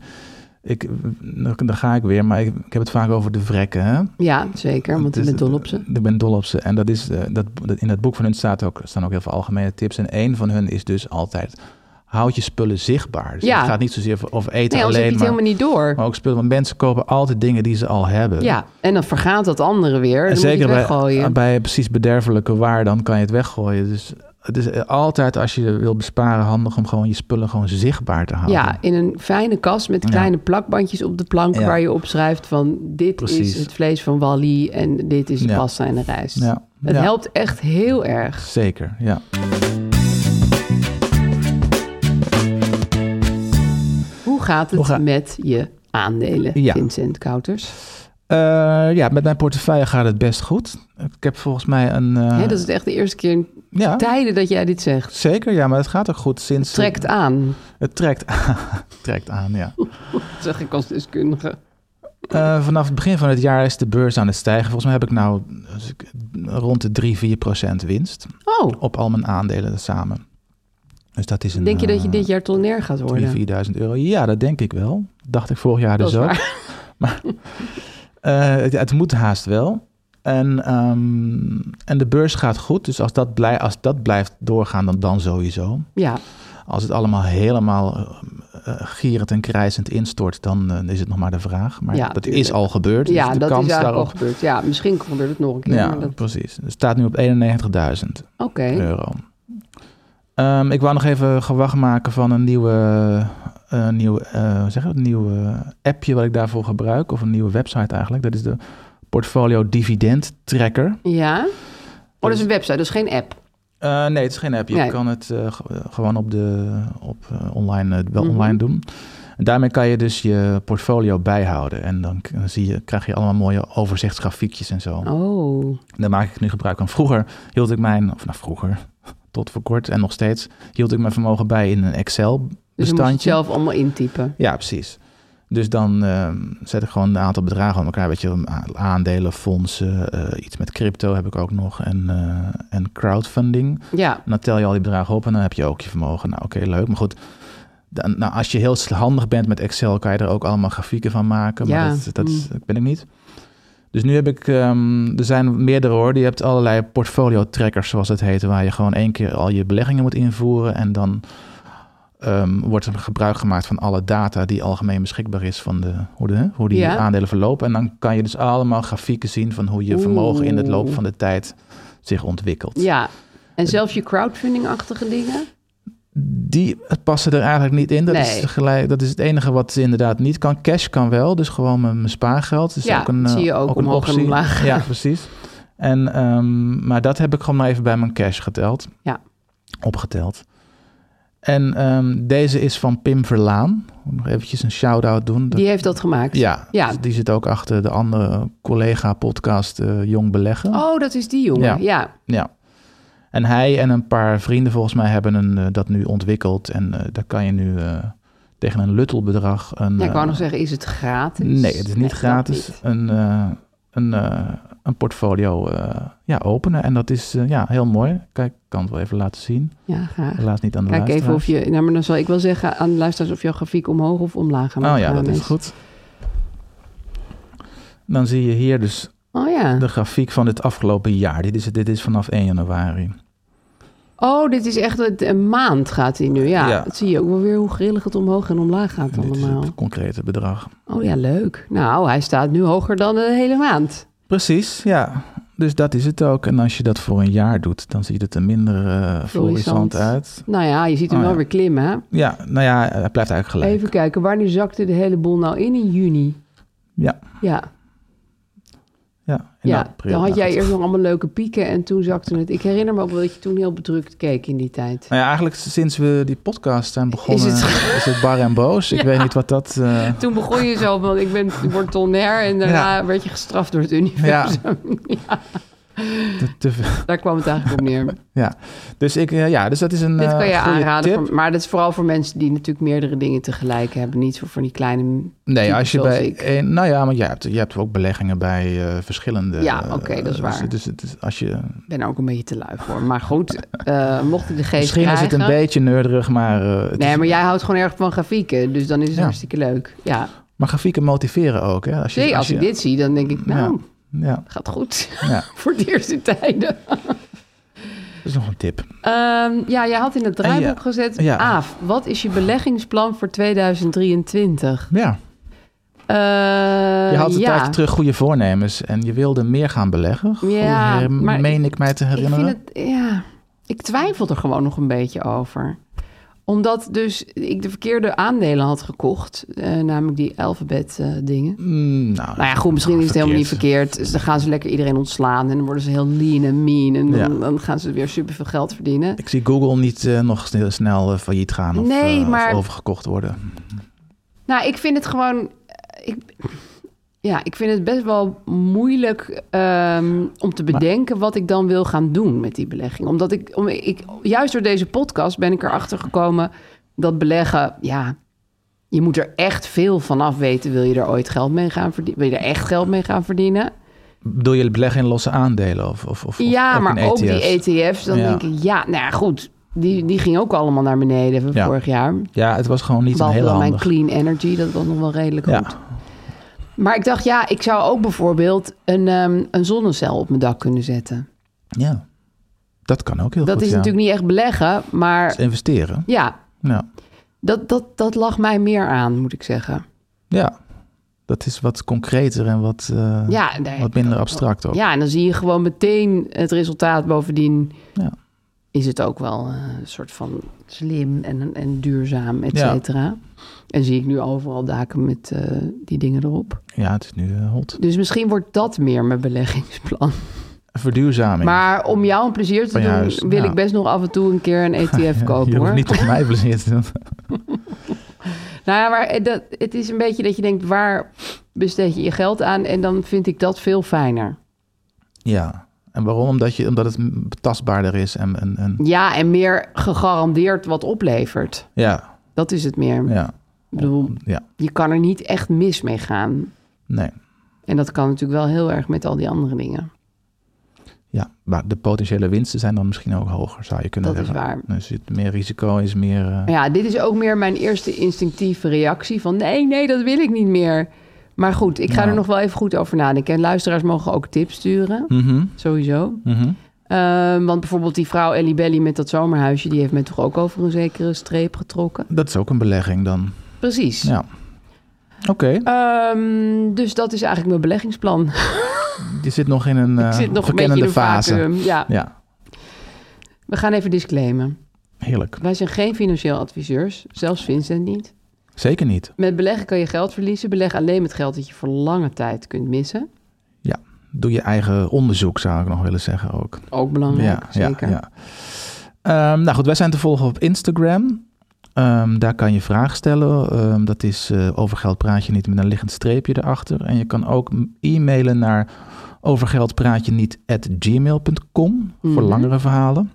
Ik, daar ga ik weer, maar ik, ik heb het vaak over de vrekken. Hè? Ja, zeker, want ik Dus, ben dol op ze. Ik ben dol op ze. En dat is, eh, dat, dat- in dat boek van hun staat ook, staan ook heel veel algemene tips. En één van hun is dus altijd... Houd je spullen zichtbaar. Dus Ja. Het gaat niet zozeer over eten Nee, anders heb je alleen, het maar, Oh, helemaal niet door. maar ook spullen. Want mensen kopen altijd dingen die ze al hebben. Ja, en dan vergaat dat andere weer. Dan En moet je zeker het bij, eh, ah, weggooien. bij precies bederfelijke waar, dan kan je het weggooien. Dus het is altijd als je wil besparen handig om gewoon je spullen gewoon zichtbaar te houden. ja, in een fijne kast met Ja. kleine plakbandjes op de plank... Ja. waar je opschrijft van dit Precies. is het vlees van Wally... en dit is de Ja. pasta en de rijst. Ja. Het Ja. helpt echt heel erg. Zeker, ja. Hoe gaat het Hoe ga- met je aandelen, Ja. Vincent Kouters? Eh, ja, met mijn portefeuille gaat het best goed. Ik heb volgens mij een... eh, Hè, dat is echt de eerste keer in ja, tijden dat jij dit zegt. zeker, ja, maar het gaat ook goed sinds... Trekt aan, Het trekt aan, trekt aan ja. zeg ik als deskundige. Eh, vanaf het begin van het jaar is de beurs aan het stijgen. Volgens mij heb ik nou als ik- rond de 3, 4 procent winst Oh, op al mijn aandelen samen. Dus dat is een... denk je dat je eh, dit jaar tonner gaat worden? 3.000, 4.000 euro. Ja, dat denk ik wel. Dacht ik vorig jaar Oh Dat dus is ook. waar. Eh, het, het moet haast wel. En, ehm, en de beurs gaat goed. Dus als dat, blij, als dat blijft doorgaan, dan, dan sowieso. Ja, Als het allemaal helemaal eh, eh, gierend en krijzend instort, dan eh, is het nog maar de vraag. Maar Ja, dat tuurlijk. is al gebeurd. ja dus de dat is kans eigenlijk al daarop. gebeurd. Ja, misschien gebeurt het nog een keer. Ja, maar dat- precies. Het staat nu op 91.000 Oké. euro. Ehm, ik wou nog even gewacht maken van een nieuwe, eh, nieuw, eh, hoe zeg je dat? Een nieuw eh, appje wat ik daarvoor gebruik. Of een nieuwe website eigenlijk. Dat is de Portfolio Dividend Tracker. Ja. Oh, dat is een website, dat is geen app. Eh, nee, het is geen app. Je Nee. kan het eh, ge- eh, gewoon op de, op, eh, online, eh, Mhm. wel online doen. En daarmee kan je dus je portfolio bijhouden. En dan k- zie je, krijg je allemaal mooie overzichtsgrafiekjes en zo. Oh. Daar maak ik nu gebruik van. Vroeger hield ik mijn, of nou vroeger, tot voor kort en nog steeds, hield ik mijn vermogen bij in een Dus dan moet je het Excel-bestandje. zelf allemaal intypen. Ja, precies. Dus dan ehm, zet ik gewoon een aantal bedragen aan elkaar. Weet je, a- aandelen, fondsen, eh, iets met crypto heb ik ook nog. En, eh, en crowdfunding. Ja. En dan tel je al die bedragen op en dan heb je ook je vermogen. Nou, oké, leuk. Maar goed, dan, nou, als je heel handig bent met Excel, kan je er ook allemaal grafieken van maken. Maar Ja, mm. dat, dat, is- dat ben ik niet. Dus nu heb ik, ehm, er zijn meerdere hoor. Je hebt allerlei portfolio trackers, zoals het heet, waar je gewoon één keer al je beleggingen moet invoeren. En dan ehm, wordt er gebruik gemaakt van alle data die algemeen beschikbaar is van de, hoe, de, hoe die Ja. aandelen verlopen. En dan kan je dus allemaal grafieken zien van hoe je vermogen in het loop van de tijd zich ontwikkelt. Ja. En zelfs je crowdfunding-achtige dingen. Die passen er eigenlijk niet in. Dat, is Nee. tegelijk, dat is het enige wat ze inderdaad niet kan. Cash kan wel, dus gewoon mijn, mijn spaargeld. Is Ja, ook een, dat zie eh, je ook een omhoog en optie. omlaag. Ja, precies. En, ehm, maar dat heb ik gewoon maar even bij mijn cash geteld. Ja. Opgeteld. En ehm, deze is van Pim Verlaan. Moet nog eventjes een shout-out doen. Dat- Die heeft dat gemaakt. ja, dus Ja. die zit ook achter de andere collega-podcast eh, Jong Beleggen. Oh, dat is die jongen. Ja. Ja. Ja. En hij en een paar vrienden volgens mij hebben een, eh, dat nu ontwikkeld. En eh, daar kan je nu eh, tegen een luttelbedrag... Een, Ja, ik wou eh, nog zeggen, is het gratis? Nee, het is niet dat gratis. niet. Een, eh, een, eh, een portfolio eh, ja, openen. En dat is eh, ja, heel mooi. Kijk, ik kan het wel even laten zien. Ja, graag. Helaas niet aan de Kijk even luisteraars. of je... Nou, maar dan zal ik wel zeggen aan de luisteraars of jouw grafiek omhoog of omlaag gaat. Oh ja, dat is goed. Dan zie je hier dus Oh ja. de grafiek van het afgelopen jaar. Dit is, dit is vanaf 1 januari. Oh, dit is echt het- een maand gaat hij nu. Ja, Ja. dat zie je ook wel weer hoe grillig het omhoog en omlaag gaat Dit is allemaal. het concrete bedrag. Oh ja, leuk. Nou, hij staat nu hoger dan de hele maand. Precies, ja. Dus dat is het ook. En als je dat voor een jaar doet, dan ziet het er minder eh florissant Florissant. uit. Nou ja, je ziet hem Oh wel ja. weer klimmen. hè? Ja, nou ja, het blijft eigenlijk gelijk. Even kijken, wanneer zakte de hele boel nou in? In juni. Ja, Ja, ja. in ja. april. dan had Nou, jij goed. eerst nog allemaal leuke pieken en toen zakte het. Ik herinner me ook wel dat je toen heel bedrukt keek in die tijd. Nou ja, eigenlijk sinds we die podcast zijn begonnen, is Is het, bar en boos. Ik weet niet wat dat... eh, Toen begon je zo van, ik ben bortonnair en daarna werd je gestraft door het universum. te- te veel- Daar kwam het eigenlijk op neer. ja. Dus, ik, eh, ja, dus dat is een Dit kan eh, je goede aanraden, tip. voor- maar dat is vooral voor mensen die natuurlijk meerdere dingen tegelijk hebben. Niet zo van die kleine... Nee, types als je zoals bij ik. één- nou ja, maar je hebt, je hebt ook beleggingen bij eh, verschillende. Ja, eh, oké, dat is dus- waar. Dus, het is- als je, ben ook een beetje te lui voor. Maar goed, eh, mocht ik de geest misschien is krijgen... het een beetje nerderig, maar. eh, het Nee, is- maar jij houdt gewoon erg van grafieken. Dus dan is het Ja. hartstikke leuk. Ja. maar grafieken motiveren ook. Hè? Als je, Nee, als ik je- dit zie, dan denk ik, nou, Ja, gaat goed. ja, voor de eerste tijden. dat is nog een tip. Ehm, ja, jij had in het draaiboek ja. gezet... Ja. Aaf, wat is je beleggingsplan voor 2023? Ja, Eh, je had het ja. tijd terug goede voornemens en je wilde meer gaan beleggen. Ja, Hoe her- maar meen ik mij te Ik herinneren. vind het, ja, ik twijfel er gewoon nog een beetje over. Omdat dus ik de verkeerde aandelen had gekocht. eh, namelijk die alfabet eh, dingen. Mm, nou, Nou ja, goed, misschien is het helemaal niet verkeerd. Dus dan gaan ze lekker iedereen ontslaan en dan worden ze heel lean en mean. En dan, Ja. dan gaan ze weer superveel geld verdienen. Ik zie Google niet eh, nog snel, snel eh, failliet gaan of, Nee, eh, of maar- overgekocht worden. Nou, ik vind het gewoon. eh, Ik, ja, ik vind het best wel moeilijk ehm, om te bedenken wat ik dan wil gaan doen met die belegging. Omdat ik, om, ik, juist door deze podcast ben ik erachter gekomen dat beleggen, ja, je moet er echt veel van af weten. Wil je er ooit geld mee gaan verdienen? Wil je er echt geld mee gaan verdienen? Bedoel je beleggen in losse aandelen of, of, of Ja, of maar in E ook ETF's? die E ETF's. Dan Ja. denk ik, ja, nou ja, goed. Die, die ging ook allemaal naar beneden Ja. vorig jaar. Ja, het was gewoon niet een Behalve heel dan mijn handig. clean energy, dat was nog wel redelijk Ja. goed. Maar ik dacht, ja, ik zou ook bijvoorbeeld een, ehm, een zonnecel op mijn dak kunnen zetten. Ja, dat kan ook heel Dat goed. is ja. natuurlijk niet echt beleggen, maar Dus investeren. ja, Ja. dat, dat, dat lag mij meer aan, moet ik zeggen. ja, dat is wat concreter en wat, eh, Ja, nee, wat minder abstract ook. ja, en dan zie je gewoon meteen het resultaat. Bovendien Ja. is het ook wel eh, een soort van slim en, en duurzaam, et Ja. cetera. En zie ik nu overal daken met eh, die dingen erop. Ja, het is nu eh, hot. Dus misschien wordt dat meer mijn beleggingsplan. Verduurzaming. Maar om jou een plezier te Van je doen, huis, wil ja. ik best nog af en toe een keer een ETF kopen Je hoeft hoor. niet op mij plezier te doen. Nou ja, maar dat, het is een beetje dat je denkt, waar besteed je je geld aan? En dan vind ik dat veel fijner. Ja. En waarom? Omdat, je, omdat het m- tastbaarder is. En, en, en, Ja, en meer gegarandeerd wat oplevert. ja, Dat is het meer. ja, Ik bedoel, ja. je kan er niet echt mis mee gaan. Nee. En dat kan natuurlijk wel heel erg met al die andere dingen. Ja, maar de potentiële winsten zijn dan misschien ook hoger, zou je kunnen Dat is zeggen. waar. waar. Dus het meer risico is meer... eh, Maar ja, dit is ook meer mijn eerste instinctieve reactie van nee, nee, dat wil ik niet meer. Maar goed, ik ga Ja. er nog wel even goed over nadenken. En luisteraars mogen ook tips sturen, mhm, sowieso. mhm. Ehm, want bijvoorbeeld die vrouw Ellie Belly met dat zomerhuisje... die heeft mij toch ook over een zekere streep getrokken. Dat is ook een belegging dan. Precies. Ja. Oké, Ehm, dus dat is eigenlijk mijn beleggingsplan. je zit nog in een eh Ik zit nog een beetje verkennende in een eh. fase. vacuüm. Ja, Ja, we gaan even disclaimen. heerlijk. Wij zijn geen financieel adviseurs, zelfs Vincent niet. Zeker niet. Met beleggen kan je geld verliezen. Beleg alleen met geld dat je voor lange tijd kunt missen. Doe je eigen onderzoek, zou ik nog willen zeggen ook. Ook belangrijk, zeker. ja. Ehm, nou goed, wij zijn te volgen op Instagram. Ehm, daar kan je vragen stellen. Ehm, dat is eh, over geld praat je niet met een liggend streepje erachter. En je kan ook m- e-mailen naar overgeldpraatje niet at gmail.com voor Mhm. langere verhalen.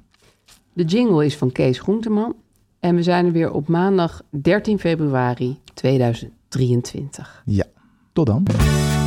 De jingle is van Kees Groenteman. En we zijn er weer op maandag 13 februari 2023. Tot dan.